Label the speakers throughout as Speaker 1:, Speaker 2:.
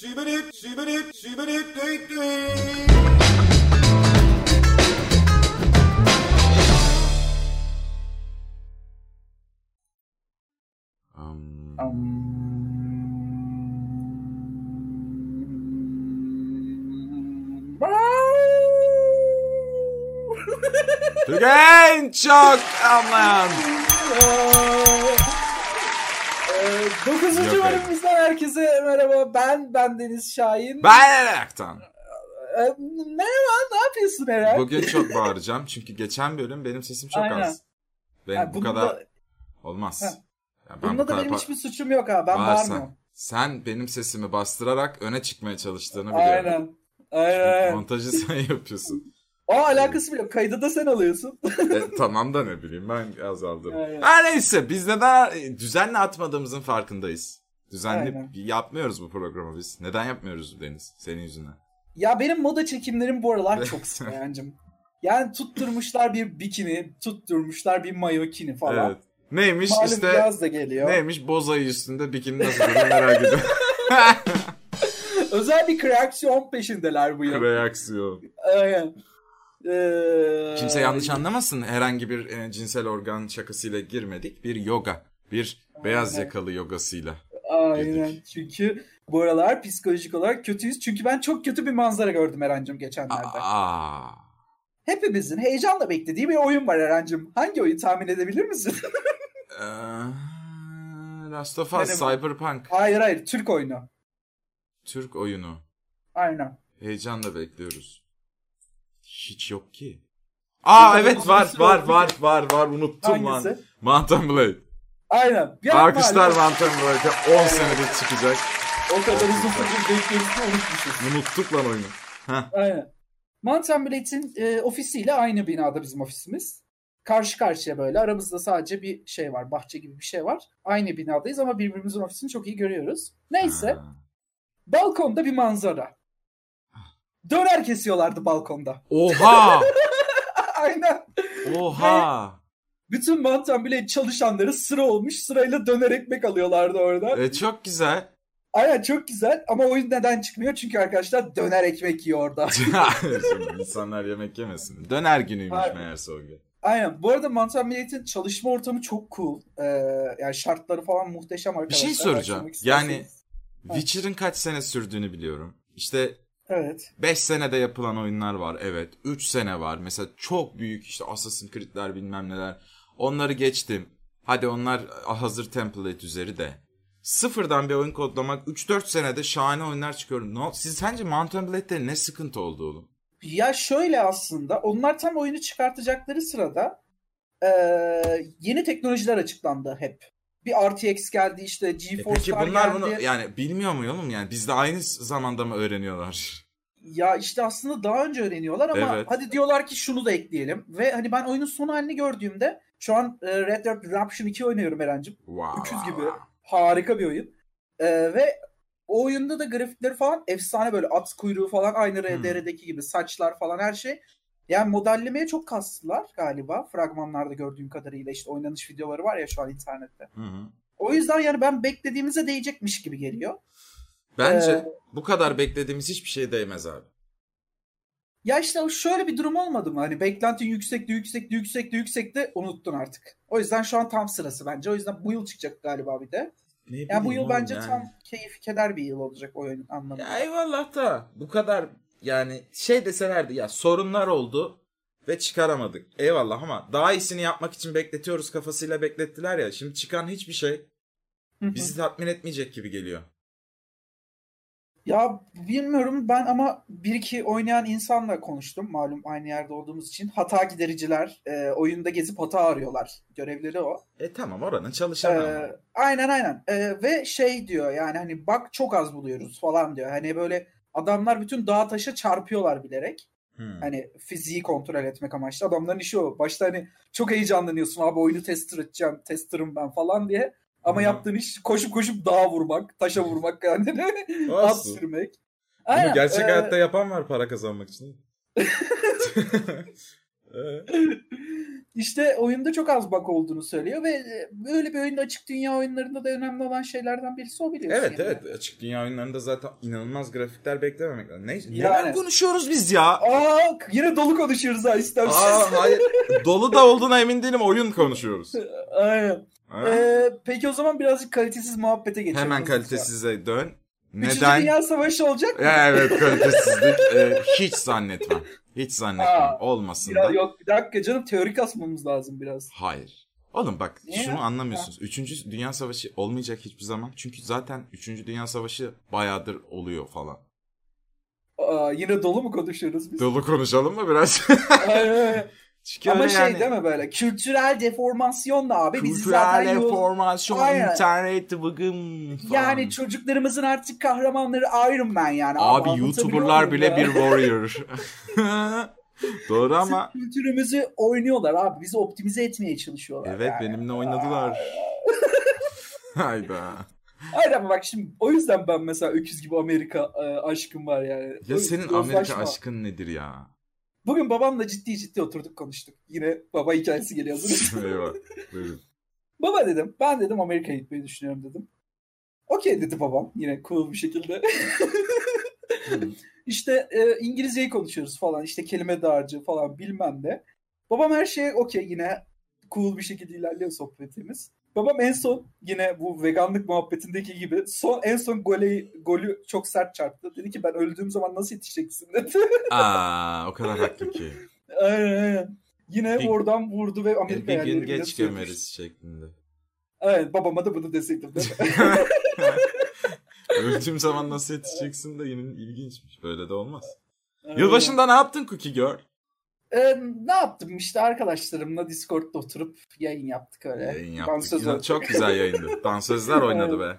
Speaker 1: Sübülüp, sübülüp, sübülüp, düt düt.
Speaker 2: Tügen çok aman.
Speaker 3: Ee,
Speaker 2: Yok,
Speaker 3: Dokuzuncu
Speaker 2: hayır.
Speaker 3: bölümümüzden herkese merhaba. Ben, ben Deniz Şahin.
Speaker 2: Ben Eraktan.
Speaker 3: Ee, merhaba, ne yapıyorsun Eren?
Speaker 2: Bugün çok bağıracağım çünkü geçen bölüm benim sesim çok
Speaker 3: Aynen.
Speaker 2: az. Benim
Speaker 3: Ha,
Speaker 2: bu
Speaker 3: bunda-
Speaker 2: kadar olmaz.
Speaker 3: Ha.
Speaker 2: Ya ben bu
Speaker 3: Bunda da
Speaker 2: kadar
Speaker 3: benim
Speaker 2: ba-
Speaker 3: hiçbir suçum yok ha. Ben
Speaker 2: bağırsan,
Speaker 3: bağırmıyorum.
Speaker 2: Sen benim sesimi bastırarak öne çıkmaya çalıştığını biliyorum.
Speaker 3: Aynen. Aynen.
Speaker 2: Montajı sen yapıyorsun.
Speaker 3: O alakası bile yok. Kaydı da sen alıyorsun.
Speaker 2: E, tamam da ne bileyim ben azaldım.
Speaker 3: Aynen.
Speaker 2: Her neyse biz neden e, düzenli atmadığımızın farkındayız. Düzenli
Speaker 3: Aynen.
Speaker 2: yapmıyoruz bu programı biz. Neden yapmıyoruz Deniz? Senin yüzünden.
Speaker 3: ya benim moda çekimlerim bu aralar çok sık Eren'cim. Yani tutturmuşlar bir bikini, tutturmuşlar bir mayokini falan.
Speaker 2: Evet. Neymiş
Speaker 3: Malum
Speaker 2: işte
Speaker 3: yaz da geliyor.
Speaker 2: Neymiş boz ayı üstünde bikini nasıl durur merak ediyorum.
Speaker 3: Özel bir kreaksiyon peşindeler bu yıl.
Speaker 2: Reaksiyon.
Speaker 3: Aynen. Ee,
Speaker 2: Kimse yanlış anlamasın herhangi bir e, cinsel organ şakasıyla girmedik. Bir yoga. Bir beyaz
Speaker 3: Aynen.
Speaker 2: yakalı yogasıyla.
Speaker 3: Aynen.
Speaker 2: Dedik.
Speaker 3: Çünkü bu aralar psikolojik olarak kötüyüz. Çünkü ben çok kötü bir manzara gördüm Eren'cim geçenlerde.
Speaker 2: Aa.
Speaker 3: Hepimizin heyecanla beklediği bir oyun var Eren'cim. Hangi oyun tahmin edebilir misin?
Speaker 2: Ee, Last of Us,
Speaker 3: Benim-
Speaker 2: Cyberpunk.
Speaker 3: hayır hayır. Türk oyunu.
Speaker 2: Türk oyunu.
Speaker 3: Aynen.
Speaker 2: Heyecanla bekliyoruz. Hiç yok ki. Aa
Speaker 3: Bir de
Speaker 2: evet var
Speaker 3: hangisi
Speaker 2: var
Speaker 3: oldu?
Speaker 2: var var var unuttum lan.
Speaker 3: Hangisi?
Speaker 2: Mountain Blade.
Speaker 3: Aynen. Ya
Speaker 2: Alkışlar
Speaker 3: maalesef
Speaker 2: Mountain Blade'e 10 senedir çıkacak.
Speaker 3: O kadar uzun süredir bekliyoruz ki unutmuşuz.
Speaker 2: Unuttuk lan oyunu.
Speaker 3: Aynen. Mountain Blade'in e, ofisiyle aynı binada bizim ofisimiz. Karşı karşıya böyle. Aramızda sadece bir şey var. Bahçe gibi bir şey var. Aynı binadayız ama birbirimizin ofisini çok iyi görüyoruz. Neyse.
Speaker 2: Ha.
Speaker 3: Balkonda bir manzara. Döner kesiyorlardı balkonda.
Speaker 2: Oha!
Speaker 3: Aynen.
Speaker 2: Oha!
Speaker 3: Bütün Mountain Blade çalışanları sıra olmuş sırayla döner ekmek alıyorlardı orada.
Speaker 2: E, çok güzel.
Speaker 3: Aynen çok güzel ama oyun neden çıkmıyor? Çünkü arkadaşlar döner ekmek yiyor orada.
Speaker 2: Şimdi insanlar yemek yemesin. Döner günüymüş
Speaker 3: Hayır.
Speaker 2: meğerse o gün.
Speaker 3: Aynen. Bu arada Mountain Blade'in çalışma ortamı çok cool. Ee, yani şartları falan muhteşem arkadaşlar.
Speaker 2: şey soracağım.
Speaker 3: Araştırmak isterseniz.
Speaker 2: Yani- Witcher'ın kaç sene sürdüğünü biliyorum. İşte
Speaker 3: Evet.
Speaker 2: 5 senede yapılan oyunlar var. Evet. 3 sene var. Mesela çok büyük işte Assassin's Creed'ler bilmem neler. Onları geçtim. Hadi onlar e, hazır template üzeri de. Sıfırdan bir oyun kodlamak 3-4 senede şahane oyunlar çıkıyorum. No, siz sence Mountain Blade'de ne sıkıntı oldu oğlum?
Speaker 3: Ya şöyle aslında onlar tam oyunu çıkartacakları sırada ee, yeni teknolojiler açıklandı hep. Bir RTX geldi işte
Speaker 2: E
Speaker 3: GeForce'lar
Speaker 2: peki bunlar
Speaker 3: geldi.
Speaker 2: bunu yani bilmiyor mu oğlum? Yani biz de aynı zamanda mı öğreniyorlar?
Speaker 3: Ya işte aslında daha önce öğreniyorlar ama
Speaker 2: Evet.
Speaker 3: hadi diyorlar ki şunu da ekleyelim. Ve hani ben oyunun son halini gördüğümde şu an e, Red Dead Redemption 2 oynuyorum Eren'cim.
Speaker 2: Wow.
Speaker 3: Öküz gibi. Harika bir oyun. Ee, ve o oyunda da grafikleri falan efsane böyle at kuyruğu falan aynı RDR'deki
Speaker 2: Hmm.
Speaker 3: gibi saçlar falan her şey. Yani modellemeye çok kastılar galiba fragmanlarda gördüğüm kadarıyla işte oynanış videoları var ya şu an internette.
Speaker 2: Hı hı.
Speaker 3: O yüzden yani ben beklediğimize değecekmiş gibi geliyor.
Speaker 2: Bence
Speaker 3: Ee,
Speaker 2: bu kadar beklediğimiz hiçbir şey değmez abi.
Speaker 3: Ya işte o şöyle bir durum olmadı mı? Hani beklentin yüksekti, yüksekti, yüksekti, yüksekti unuttun artık. O yüzden şu an tam sırası bence. O yüzden bu yıl çıkacak galiba bir de.
Speaker 2: Ne
Speaker 3: Yani bu
Speaker 2: bileyim
Speaker 3: yıl
Speaker 2: oğlum
Speaker 3: bence
Speaker 2: yani.
Speaker 3: tam keyif keder bir yıl olacak oyun anlamında.
Speaker 2: Ya eyvallah da bu kadar yani şey deselerdi ya sorunlar oldu ve çıkaramadık. Eyvallah ama daha iyisini yapmak için bekletiyoruz kafasıyla beklettiler ya. Şimdi çıkan hiçbir şey
Speaker 3: Hı hı.
Speaker 2: bizi tatmin etmeyecek gibi geliyor.
Speaker 3: Ya bilmiyorum ben ama bir iki oynayan insanla konuştum malum aynı yerde olduğumuz için. Hata gidericiler e, oyunda gezip hata arıyorlar. Görevleri o.
Speaker 2: E tamam oranın çalışanı.
Speaker 3: Ee,
Speaker 2: ama.
Speaker 3: aynen aynen. Ee, ve şey diyor yani hani bak çok az buluyoruz falan diyor. Hani böyle adamlar bütün dağa taşa çarpıyorlar bilerek.
Speaker 2: Hı.
Speaker 3: Hani fiziği kontrol etmek amaçlı. Adamların işi o. Başta hani çok heyecanlanıyorsun abi oyunu tester edeceğim, testerım ben falan diye. Ama
Speaker 2: Hı.
Speaker 3: yaptığın iş koşup koşup dağa vurmak, taşa vurmak yani. At
Speaker 2: Olsun.
Speaker 3: sürmek.
Speaker 2: Bunu
Speaker 3: Aynen,
Speaker 2: gerçek
Speaker 3: ee,
Speaker 2: E, hayatta yapan var para kazanmak için.
Speaker 3: İşte oyunda çok az bug olduğunu söylüyor ve e, böyle bir oyunda açık dünya oyunlarında da önemli olan şeylerden birisi o biliyorsun.
Speaker 2: evet
Speaker 3: yani.
Speaker 2: evet açık dünya oyunlarında zaten inanılmaz grafikler beklememek lazım. Neyse
Speaker 3: Yani.
Speaker 2: neler konuşuyoruz biz ya?
Speaker 3: Aa yine dolu konuşuyoruz ha istemsiz.
Speaker 2: Aa, hayır. Dolu da olduğuna emin değilim oyun konuşuyoruz.
Speaker 3: Aynen.
Speaker 2: Ha?
Speaker 3: Ee, peki o zaman birazcık kalitesiz muhabbete geçelim.
Speaker 2: Hemen
Speaker 3: hızlıca.
Speaker 2: kalitesize dön.
Speaker 3: Üçüncü
Speaker 2: Neden?
Speaker 3: Dünya Savaşı olacak mı?
Speaker 2: Ya evet kalitesizlik e, hiç zannetmem. Hiç zannetmem.
Speaker 3: Aa,
Speaker 2: Olmasın
Speaker 3: Biraz-
Speaker 2: da.
Speaker 3: yok bir dakika canım teorik asmamız lazım biraz.
Speaker 2: Hayır. Oğlum bak
Speaker 3: Niye
Speaker 2: şunu
Speaker 3: ya?
Speaker 2: anlamıyorsunuz. Üçüncü Dünya Savaşı olmayacak hiçbir zaman. Çünkü zaten Üçüncü Dünya Savaşı bayağıdır oluyor falan.
Speaker 3: Aa, yine dolu mu konuşuyoruz biz?
Speaker 2: Dolu konuşalım mı biraz?
Speaker 3: Aynen.
Speaker 2: Çünkü
Speaker 3: Ama
Speaker 2: öyle
Speaker 3: şey
Speaker 2: yani,
Speaker 3: değil mi böyle kültürel deformasyonla abi bizi
Speaker 2: Kültürel
Speaker 3: zaten yol...
Speaker 2: enformasyon,
Speaker 3: Aynen.
Speaker 2: internet bugün falan.
Speaker 3: Yani çocuklarımızın artık kahramanları Iron Man yani.
Speaker 2: Abi
Speaker 3: anlatabiliyor
Speaker 2: YouTuber'lar
Speaker 3: muyum
Speaker 2: bile
Speaker 3: ya?
Speaker 2: bir warrior. Doğru ama
Speaker 3: Sırf kültürümüzü oynuyorlar abi. Bizi optimize etmeye çalışıyorlar.
Speaker 2: evet
Speaker 3: yani.
Speaker 2: benimle oynadılar. Hayda.
Speaker 3: Hayır ama bak şimdi o yüzden ben mesela öküz gibi Amerika e, aşkım var yani.
Speaker 2: Ya
Speaker 3: O-
Speaker 2: senin
Speaker 3: yozlaşma.
Speaker 2: Amerika aşkın nedir ya?
Speaker 3: Bugün babamla ciddi ciddi oturduk konuştuk. Yine baba hikayesi geliyor. hazır.
Speaker 2: Eyvah. Buyurun.
Speaker 3: baba dedim ben dedim Amerika'ya gitmeyi düşünüyorum dedim. Okey dedi babam yine cool bir şekilde. İşte e, İngilizceyi konuşuyoruz falan işte kelime dağarcığı falan bilmem ne. Babam her şeye okey yine cool bir şekilde ilerliyor sohbetimiz. Babam en son yine bu veganlık muhabbetindeki gibi son en son golü, golü çok sert çarptı. Dedi ki ben öldüğüm zaman nasıl yetişeceksin dedi.
Speaker 2: Aa, o kadar haklı ki.
Speaker 3: aynen aynen. Yine
Speaker 2: Bir-
Speaker 3: oradan vurdu ve
Speaker 2: E,
Speaker 3: Amerika
Speaker 2: bir gün
Speaker 3: yerlerinde
Speaker 2: geç
Speaker 3: sürmüş.
Speaker 2: gömeriz şeklinde.
Speaker 3: Evet babama da bunu deseydim. değil mi?
Speaker 2: Öldüğüm zaman nasıl yetişeceksin de yine ilginçmiş. Böyle de olmaz.
Speaker 3: Aynen.
Speaker 2: Yılbaşında ne yaptın Cookie Girl?
Speaker 3: Ee, ne yaptım işte arkadaşlarımla Discord'da oturup yayın yaptık öyle.
Speaker 2: Yayın yaptık.
Speaker 3: Dansöz
Speaker 2: İnan-
Speaker 3: oynadık.
Speaker 2: çok güzel yayındı. Dansözler oynadı be.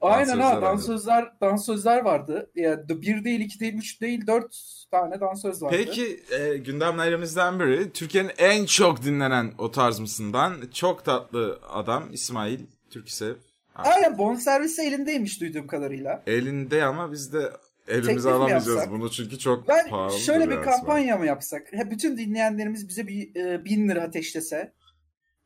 Speaker 3: Aynen
Speaker 2: Dansözler
Speaker 3: ha dansözler dansözler vardı. Ya d- bir değil, iki değil, üç değil, dört tane dansöz vardı.
Speaker 2: Peki e, gündemlerimizden biri Türkiye'nin en çok dinlenen o tarz mısından çok tatlı adam İsmail Türksev.
Speaker 3: Aynen bonservisi elindeymiş duyduğum kadarıyla.
Speaker 2: Elinde ama biz de
Speaker 3: Teklif
Speaker 2: elimize
Speaker 3: mi
Speaker 2: alamayacağız
Speaker 3: yapsak?
Speaker 2: bunu çünkü çok
Speaker 3: Ben
Speaker 2: pahalı.
Speaker 3: şöyle bir
Speaker 2: duruyor aslında.
Speaker 3: kampanya mı yapsak? He, bütün dinleyenlerimiz bize bir e, bin lira ateşlese.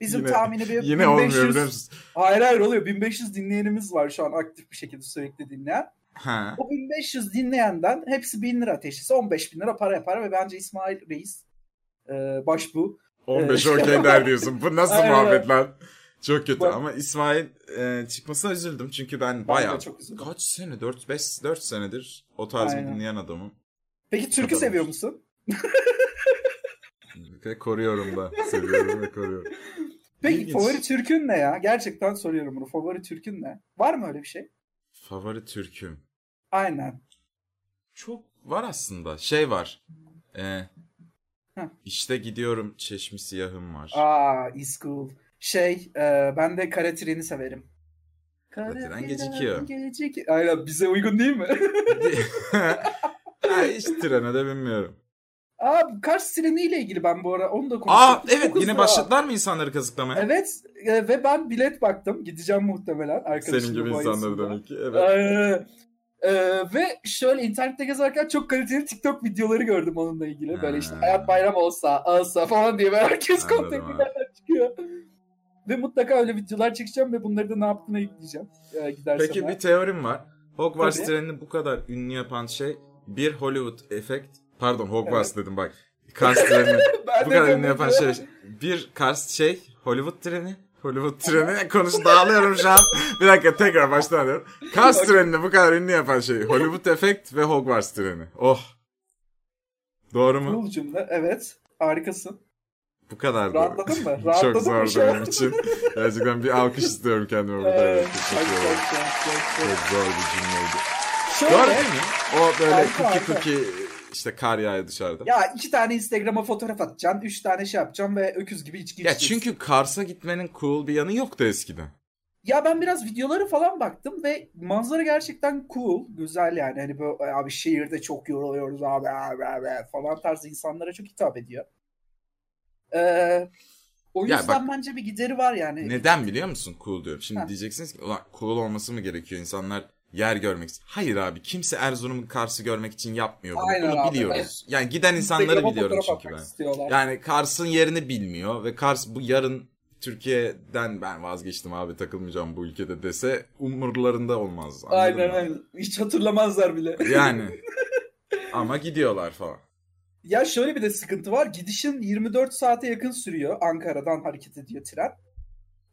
Speaker 3: Bizim
Speaker 2: Yine-
Speaker 3: tahmini bir
Speaker 2: Yine
Speaker 3: 1500...
Speaker 2: olmuyor biliyor musun?
Speaker 3: Hayır hayır oluyor. 1500 dinleyenimiz var şu an aktif bir şekilde sürekli dinleyen.
Speaker 2: Ha.
Speaker 3: O 1500 dinleyenden hepsi 1000 lira ateşlese 15 bin lira para yapar ve bence İsmail Reis e, başbu.
Speaker 2: 15
Speaker 3: Evet.
Speaker 2: okey der diyorsun. Bu nasıl
Speaker 3: Aynen.
Speaker 2: muhabbet lan? Çok kötü
Speaker 3: Bak-
Speaker 2: ama İsmail e, çıkmasına üzüldüm çünkü ben
Speaker 3: Ben de
Speaker 2: bayağı
Speaker 3: çok üzüldüm.
Speaker 2: kaç sene 4 5 4 senedir o tarz bir
Speaker 3: Aynen.
Speaker 2: dinleyen adamım.
Speaker 3: Peki türkü
Speaker 2: Çok
Speaker 3: seviyor
Speaker 2: olmuş.
Speaker 3: musun?
Speaker 2: Ve koruyorum da. Seviyorum ve koruyorum.
Speaker 3: Peki
Speaker 2: İlginç.
Speaker 3: favori türkün ne ya? Gerçekten soruyorum bunu. Favori türkün ne? Var mı öyle bir şey?
Speaker 2: Favori türküm.
Speaker 3: Aynen.
Speaker 2: Çok var aslında. Şey var. E,
Speaker 3: Heh.
Speaker 2: işte gidiyorum çeşmi siyahım var.
Speaker 3: Aa, is cool. Şey, e, ben de kara treni severim.
Speaker 2: Kara Tren gecikiyor.
Speaker 3: geciki- Aynen bize uygun değil mi?
Speaker 2: Ha, Hiç trene de binmiyorum.
Speaker 3: Aa, Kars treniyle ilgili ben bu ara onu da konuştum.
Speaker 2: Aa evet
Speaker 3: Çok
Speaker 2: yine
Speaker 3: hızlı.
Speaker 2: başladılar mı insanları kazıklamaya?
Speaker 3: Evet e, ve ben bilet baktım. Gideceğim muhtemelen. Arkadaşım
Speaker 2: Senin gibi insanları demek ki. Evet.
Speaker 3: Ee, e, ve şöyle internette gezerken çok kaliteli TikTok videoları gördüm onunla ilgili. Böyle işte
Speaker 2: Ha.
Speaker 3: hayat bayram olsa, alsa falan diye böyle herkes
Speaker 2: Anladım
Speaker 3: kontak
Speaker 2: abi.
Speaker 3: videolar çıkıyor. Ve mutlaka öyle videolar çekeceğim ve bunları da ne yaptığına yükleyeceğim. E, gidersem
Speaker 2: Peki
Speaker 3: eğer.
Speaker 2: bir teorim var. Hogwarts
Speaker 3: Tabii.
Speaker 2: trenini bu kadar ünlü yapan şey bir Hollywood efekt. Pardon Hogwarts dedim bak. Kars treni
Speaker 3: Ben
Speaker 2: bu
Speaker 3: de
Speaker 2: kadar
Speaker 3: dedim
Speaker 2: ünlü yapan
Speaker 3: ya.
Speaker 2: şey. Bir Kars şey Hollywood treni. Hollywood treni konuş dağılıyorum şu an. Bir dakika tekrar baştan alıyorum. Kars trenini bu kadar ünlü yapan şey Hollywood efekt ve Hogwarts treni. Oh. Doğru mu?
Speaker 3: Cool cümle. Evet. Harikasın.
Speaker 2: Bu kadar.
Speaker 3: Rahatladın mı? Rahatladın
Speaker 2: Çok
Speaker 3: mı
Speaker 2: zor
Speaker 3: şu an?
Speaker 2: benim için. Gerçekten bir alkış istiyorum kendime burada.
Speaker 3: Ee,
Speaker 2: Evet,
Speaker 3: bak,
Speaker 2: teşekkür ederim. Çok
Speaker 3: bak, bak, bak, bak.
Speaker 2: zor bir cümleydi. Doğru
Speaker 3: Şöyle,
Speaker 2: değil mi? O böyle
Speaker 3: Harika,
Speaker 2: kuki
Speaker 3: harika.
Speaker 2: kuki işte kar yağıyor dışarıda. Ya,
Speaker 3: ya iki tane Instagram'a fotoğraf atacaksın, üç tane şey yapacaksın ve öküz gibi içki içeceksin.
Speaker 2: çünkü Kars'a gitmenin cool bir yanı yoktu eskiden.
Speaker 3: Ya ben biraz videoları falan baktım ve manzara gerçekten cool, güzel yani. Hani böyle abi şehirde çok yoruluyoruz abi, abi, abi falan tarzı insanlara çok hitap ediyor. Ee, o
Speaker 2: Ya
Speaker 3: yüzden
Speaker 2: bak-
Speaker 3: bence bir gideri var yani.
Speaker 2: Neden biliyor musun cool diyorum. Şimdi
Speaker 3: Ha.
Speaker 2: diyeceksiniz ki ulan cool olması mı gerekiyor insanlar yer görmek için. Hayır abi kimse Erzurum'un Kars'ı görmek için yapmıyor bunu.
Speaker 3: Aynen
Speaker 2: Bunu
Speaker 3: abi,
Speaker 2: biliyoruz. Yani giden insanları
Speaker 3: Instagram'a
Speaker 2: biliyorum
Speaker 3: fotoğraf
Speaker 2: çünkü
Speaker 3: atmak
Speaker 2: ben.
Speaker 3: Istiyorlar.
Speaker 2: Yani Kars'ın yerini bilmiyor ve Kars bu yarın Türkiye'den ben vazgeçtim abi takılmayacağım bu ülkede dese umurlarında olmaz. anladın
Speaker 3: aynen
Speaker 2: mı?
Speaker 3: aynen. Hiç hatırlamazlar bile.
Speaker 2: Yani ama gidiyorlar falan.
Speaker 3: Ya şöyle bir de sıkıntı var. Gidişin 24 saate yakın sürüyor. Ankara'dan hareket ediyor tren.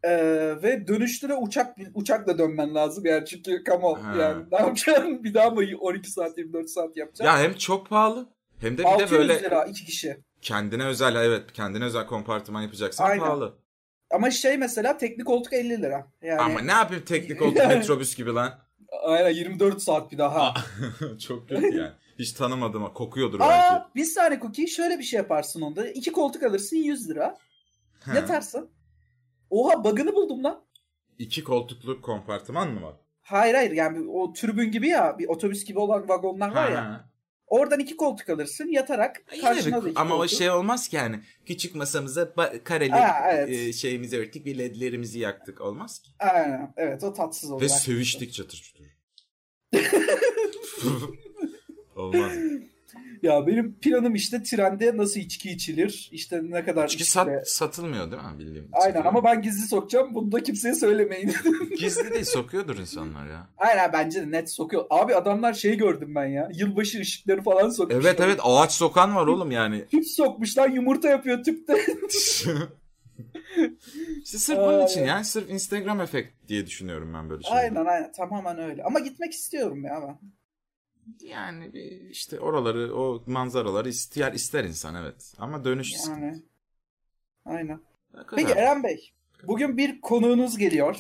Speaker 3: Ee, ve dönüşte de uçak uçakla dönmen lazım yani çünkü come on
Speaker 2: Ha.
Speaker 3: yani ne yapacaksın bir daha mı 12 saat 24 saat yapacaksın?
Speaker 2: Ya hem çok pahalı hem de bir de
Speaker 3: 600
Speaker 2: böyle
Speaker 3: lira iki kişi.
Speaker 2: kendine özel evet kendine özel kompartıman yapacaksan
Speaker 3: Aynen.
Speaker 2: pahalı.
Speaker 3: Ama şey mesela teknik koltuk 50 lira. Yani
Speaker 2: Ama ne yapayım teknik koltuk metrobüs gibi lan.
Speaker 3: aynen 24 saat bir daha.
Speaker 2: çok kötü yani. Hiç tanımadım. Kokuyordur belki.
Speaker 3: Aa bir saniye Cookie şöyle bir şey yaparsın onda. İki koltuk alırsın 100 lira.
Speaker 2: Ha,
Speaker 3: Yatarsın. Oha bug'ını buldum lan.
Speaker 2: İki koltuklu kompartıman mı var?
Speaker 3: Hayır hayır yani o tribün gibi ya bir otobüs gibi olan vagonlar var ya.
Speaker 2: Ha.
Speaker 3: Oradan iki koltuk alırsın yatarak
Speaker 2: Yine
Speaker 3: karşına
Speaker 2: bir-
Speaker 3: da iki
Speaker 2: ama o
Speaker 3: koltuk.
Speaker 2: şey olmaz ki yani. Küçük masamıza ba- kareli
Speaker 3: Ha, evet.
Speaker 2: e, şeyimizi örttük ve ledlerimizi yaktık. Olmaz ki.
Speaker 3: Aynen evet o tatsız olur.
Speaker 2: Ve sövüştük çatır çutur. olmaz.
Speaker 3: Ya benim planım işte trende nasıl içki içilir işte ne kadar
Speaker 2: Çünkü
Speaker 3: işte-
Speaker 2: sat, satılmıyor değil mi bildiğim?
Speaker 3: Aynen
Speaker 2: Satılıyor.
Speaker 3: ama ben gizli sokacağım bunu da kimseye söylemeyin.
Speaker 2: Gizli değil sokuyordur insanlar ya.
Speaker 3: Aynen bence de net sokuyor. Abi adamlar şey gördüm ben ya. Yılbaşı ışıkları falan sokmuşlar.
Speaker 2: Evet evet ağaç sokan var oğlum yani.
Speaker 3: Tüp sokmuşlar yumurta yapıyor tüpte.
Speaker 2: işte sırf bunun için
Speaker 3: Aynen.
Speaker 2: yani sırf Instagram efekt diye düşünüyorum ben böyle şeyleri.
Speaker 3: aynen aynen tamamen öyle. Ama gitmek istiyorum ya ben.
Speaker 2: Yani bir işte oraları o manzaraları ister ister insan evet. Ama dönüş
Speaker 3: Yani.
Speaker 2: sıkıntı.
Speaker 3: Aynen.
Speaker 2: Ne kadar?
Speaker 3: Peki Eren Bey. Bugün bir konuğunuz geliyor.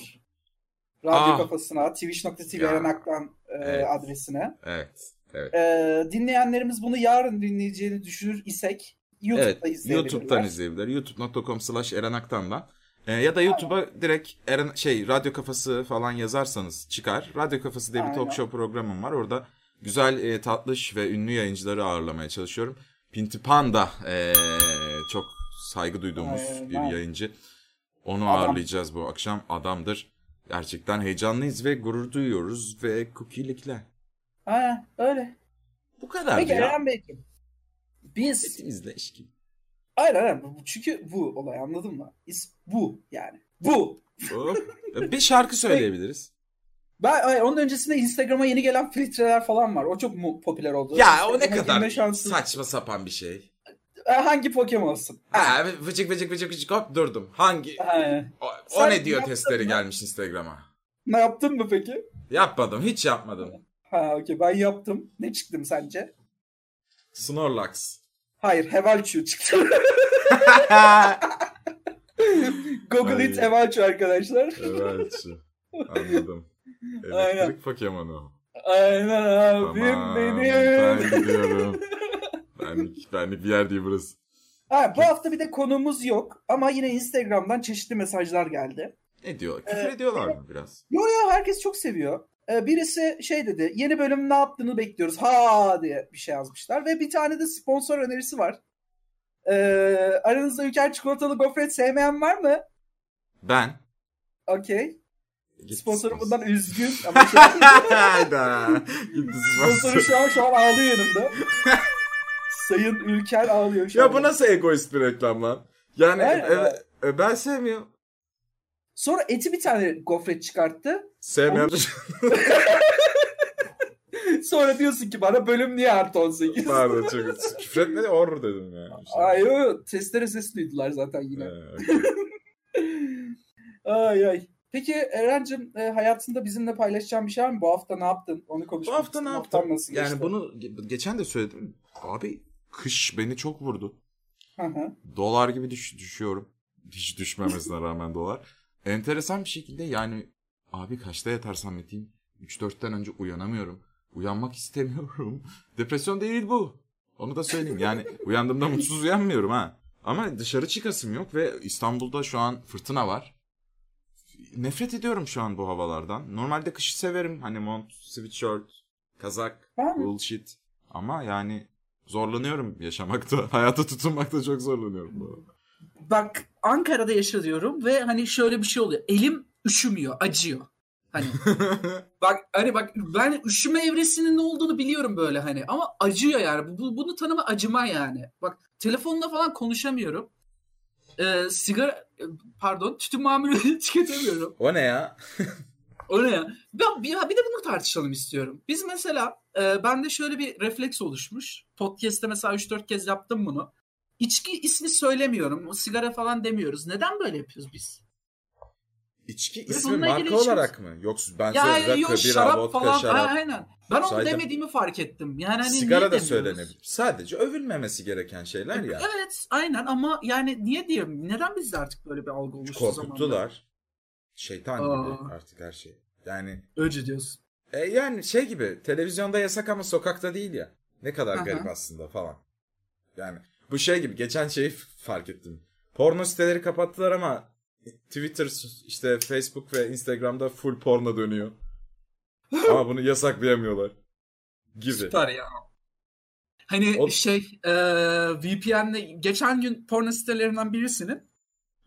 Speaker 3: Radyo
Speaker 2: Ah.
Speaker 3: kafasına twitch.tv
Speaker 2: Ya.
Speaker 3: Eren Aktan e,
Speaker 2: Evet.
Speaker 3: adresine.
Speaker 2: Evet. Evet.
Speaker 3: E, dinleyenlerimiz bunu yarın dinleyeceğini düşünür isek YouTube'da
Speaker 2: evet.
Speaker 3: izleyebilirler.
Speaker 2: YouTube'dan izleyebilir. youtube.com slash erenaktan'dan. Ee, ya da YouTube'a direkt Eren, şey radyo kafası falan yazarsanız çıkar. Radyo kafası diye bir
Speaker 3: Aynen.
Speaker 2: talk show programım var. Orada güzel e, tatlış ve ünlü yayıncıları ağırlamaya çalışıyorum. Pinti Panda e, çok saygı duyduğumuz
Speaker 3: Aynen.
Speaker 2: bir yayıncı. Onu
Speaker 3: Adam.
Speaker 2: ağırlayacağız bu akşam. Adamdır. Gerçekten heyecanlıyız ve gurur duyuyoruz ve cookie'likler.
Speaker 3: Aynen öyle.
Speaker 2: Bu kadar
Speaker 3: Peki
Speaker 2: ya.
Speaker 3: Eren Beyciğim. Biz
Speaker 2: Setimizle iş gibi.
Speaker 3: Hayır hayır. Bu- Çünkü bu olay anladın mı? İs bu yani. Bu.
Speaker 2: Hop. Oh. bir şarkı söyleyebiliriz.
Speaker 3: Ben ay, onun öncesinde Instagram'a yeni gelen filtreler falan var. O çok mu popüler oldu.
Speaker 2: Ya o ne
Speaker 3: Instagram'a girme
Speaker 2: kadar
Speaker 3: şansı-
Speaker 2: saçma sapan bir şey.
Speaker 3: E, Hangi Pokemon'sın?
Speaker 2: Ha vıcık vıcık vıcık vıcık hop durdum. Hangi?
Speaker 3: Ha.
Speaker 2: O, o
Speaker 3: Sen
Speaker 2: ne diyor
Speaker 3: yaptın
Speaker 2: testleri
Speaker 3: mı?
Speaker 2: gelmiş Instagram'a.
Speaker 3: Ne yaptın mı peki?
Speaker 2: Yapmadım hiç yapmadım.
Speaker 3: Ha okey ben yaptım. Ne çıktım sence?
Speaker 2: Snorlax.
Speaker 3: Hayır Hevalchu çıktı. Google it
Speaker 2: Ay.
Speaker 3: Hevalchu arkadaşlar.
Speaker 2: evet. Anladım.
Speaker 3: Aynen.
Speaker 2: Elektrik Pokemon'u.
Speaker 3: Aynen abim
Speaker 2: Aman,
Speaker 3: benim.
Speaker 2: Ben gidiyorum. Benlik, benlik bir yer değil burası.
Speaker 3: Ha, bu hafta bir de konumuz yok. Ama yine Instagram'dan çeşitli mesajlar geldi.
Speaker 2: Ne diyor? Küfür ediyorlar mı biraz?
Speaker 3: Yo yo herkes çok seviyor. Ee, birisi şey dedi. Yeni bölüm ne yaptığını bekliyoruz. Ha diye bir şey yazmışlar. Ve bir tane de sponsor önerisi var. Ee, aranızda Ülker çikolatalı gofret sevmeyen var mı?
Speaker 2: Ben.
Speaker 3: Okey.
Speaker 2: Git
Speaker 3: Sponsorum
Speaker 2: sponsor.
Speaker 3: bundan üzgün. Ama şey,
Speaker 2: Hayda. Gitti
Speaker 3: sponsoru
Speaker 2: sponsor.
Speaker 3: şu an, şu an ağlıyor yanımda. Sayın Ülker ağlıyor şu
Speaker 2: Ya
Speaker 3: an.
Speaker 2: bu nasıl egoist bir reklam lan? Yani
Speaker 3: Aynen.
Speaker 2: evet, e, ben sevmiyorum.
Speaker 3: Sonra Eti bir tane gofret çıkarttı.
Speaker 2: Sevmem.
Speaker 3: Sonra diyorsun ki bana bölüm niye artı 18?
Speaker 2: Pardon çok küfretmedi or dedim ya. İşte.
Speaker 3: Ay yo, yo testere ses duydular zaten yine.
Speaker 2: Ee,
Speaker 3: Ay ay. Peki Eren'cim e, hayatında bizimle paylaşacağın bir şey var mı? Bu hafta ne yaptın? Onu
Speaker 2: Bu
Speaker 3: konuşmak
Speaker 2: hafta
Speaker 3: istiyorum.
Speaker 2: ne
Speaker 3: Haftan
Speaker 2: yaptım?
Speaker 3: nasıl
Speaker 2: Yani
Speaker 3: geçti?
Speaker 2: bunu ge- geçen de söyledim. Abi kış beni çok vurdu.
Speaker 3: Hı hı.
Speaker 2: Dolar gibi düş- düşüyorum. Hiç düşmemesine rağmen dolar. Enteresan bir şekilde yani abi kaçta yatarsam yatayım 3-4'ten önce uyanamıyorum. Uyanmak istemiyorum. Depresyon değil bu. Onu da söyleyeyim. Yani uyandığımda mutsuz uyanmıyorum ha. Ama dışarı çıkasım yok ve İstanbul'da şu an fırtına var. Nefret ediyorum şu an bu havalardan. Normalde kışı severim. Hani mont, sweatshirt, kazak,
Speaker 3: Ben mi?
Speaker 2: bullshit. Ama yani zorlanıyorum yaşamakta. Hayata tutunmakta çok zorlanıyorum. bu arada.
Speaker 3: Bak Ankara'da yaşıyorum ve hani şöyle bir şey oluyor. Elim üşümüyor, acıyor. Hani bak hani bak ben üşüme evresinin ne olduğunu biliyorum böyle hani ama acıyor yani. Bu, bunu tanıma acıma yani. Bak telefonla falan konuşamıyorum. Ee, sigara pardon tütün mamulü tüketemiyorum.
Speaker 2: o ne ya?
Speaker 3: O ne ya? Ben, bir, bir de bunu tartışalım istiyorum. Biz mesela e, bende şöyle bir refleks oluşmuş. Podcast'te mesela 3-4 kez yaptım bunu. İçki ismi söylemiyorum. o Sigara falan demiyoruz. Neden böyle yapıyoruz biz?
Speaker 2: İçki
Speaker 3: Ve
Speaker 2: ismi
Speaker 3: bununla
Speaker 2: marka
Speaker 3: ilgili
Speaker 2: olarak mı? Yoksa ben
Speaker 3: Ya
Speaker 2: size rakı,
Speaker 3: yok
Speaker 2: bira,
Speaker 3: şarap
Speaker 2: vodka,
Speaker 3: falan.
Speaker 2: şarap.
Speaker 3: Ha, aynen. Ben onu
Speaker 2: Saydım.
Speaker 3: demediğimi fark ettim. Yani hani
Speaker 2: sigara
Speaker 3: niye
Speaker 2: da
Speaker 3: demiyoruz?
Speaker 2: söylenebilir. Sadece övülmemesi gereken şeyler ya.
Speaker 3: Evet aynen ama yani niye diyeyim? Neden bizde artık böyle bir algı oluştu zamanda?
Speaker 2: Korkuttular. Şeytan gibi
Speaker 3: Aa.
Speaker 2: artık her şey. Yani
Speaker 3: Öyle diyorsun.
Speaker 2: e, yani şey gibi televizyonda yasak ama sokakta değil ya. Ne kadar
Speaker 3: Aha.
Speaker 2: garip aslında falan. Yani bu şey gibi geçen şeyi f- fark ettim. Porno siteleri kapattılar ama Twitter işte Facebook ve Instagram'da full porno dönüyor. ama bunu yasaklayamıyorlar. Gibi.
Speaker 3: Süper ya. Hani
Speaker 2: O-
Speaker 3: şey e, VPN'le geçen gün porno sitelerinden birisinin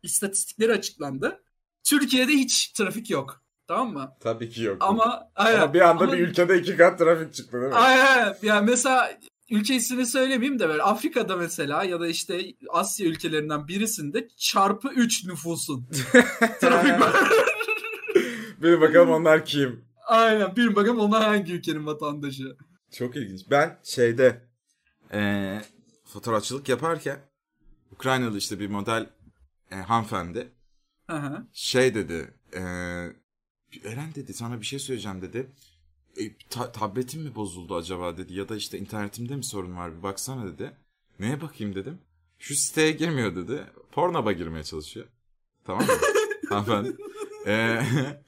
Speaker 3: istatistikleri açıklandı. Türkiye'de hiç trafik yok. Tamam mı?
Speaker 2: Tabii ki yok.
Speaker 3: Ama,
Speaker 2: Ama
Speaker 3: aynen,
Speaker 2: bir anda
Speaker 3: ama-
Speaker 2: bir ülkede iki kat trafik çıktı değil mi?
Speaker 3: Aynen. Yani mesela ülke ismini söylemeyeyim de böyle Afrika'da mesela ya da işte Asya ülkelerinden birisinde çarpı 3 nüfusun. Trafik var.
Speaker 2: bir bakalım onlar kim?
Speaker 3: Aynen. Bir bakalım onlar hangi ülkenin vatandaşı.
Speaker 2: Çok ilginç. Ben şeyde eee fotoğrafçılık yaparken Ukraynalı işte bir model e, hanımefendi
Speaker 3: Hı hı.
Speaker 2: şey dedi. eee, Eren dedi sana bir şey söyleyeceğim dedi. E, ta- tabletim mi bozuldu acaba dedi ya da işte internetimde mi sorun var bir baksana dedi. Neye bakayım dedim. Şu siteye girmiyor dedi. Pornhub'a girmeye çalışıyor. Tamam mı? Hanımefendi. Eee,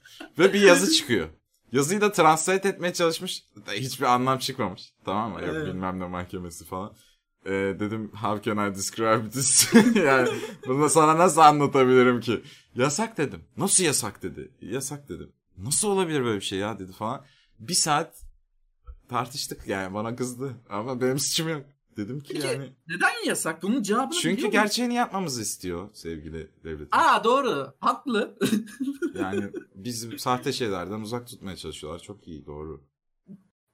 Speaker 2: ve bir yazı çıkıyor. Yazıyı da translate etmeye çalışmış. Da Hiçbir anlam çıkmamış. Tamam mı? Yok
Speaker 3: Evet.
Speaker 2: bilmem ne mahkemesi falan. Eee, dedim how can I describe this? yani bunu sana nasıl anlatabilirim ki? Yasak dedim. Nasıl yasak dedi. Yasak dedim. Nasıl olabilir böyle bir şey ya dedi falan. Bir saat tartıştık yani bana kızdı. Ama benim suçum yok. Dedim ki
Speaker 3: Peki,
Speaker 2: yani.
Speaker 3: Neden yasak? Bunun cevabını
Speaker 2: Çünkü
Speaker 3: biliyor musun?
Speaker 2: gerçeğini yapmamızı istiyor sevgili devletim.
Speaker 3: Aa doğru. Haklı.
Speaker 2: Yani bizi sahte şeylerden uzak tutmaya çalışıyorlar. Çok iyi doğru.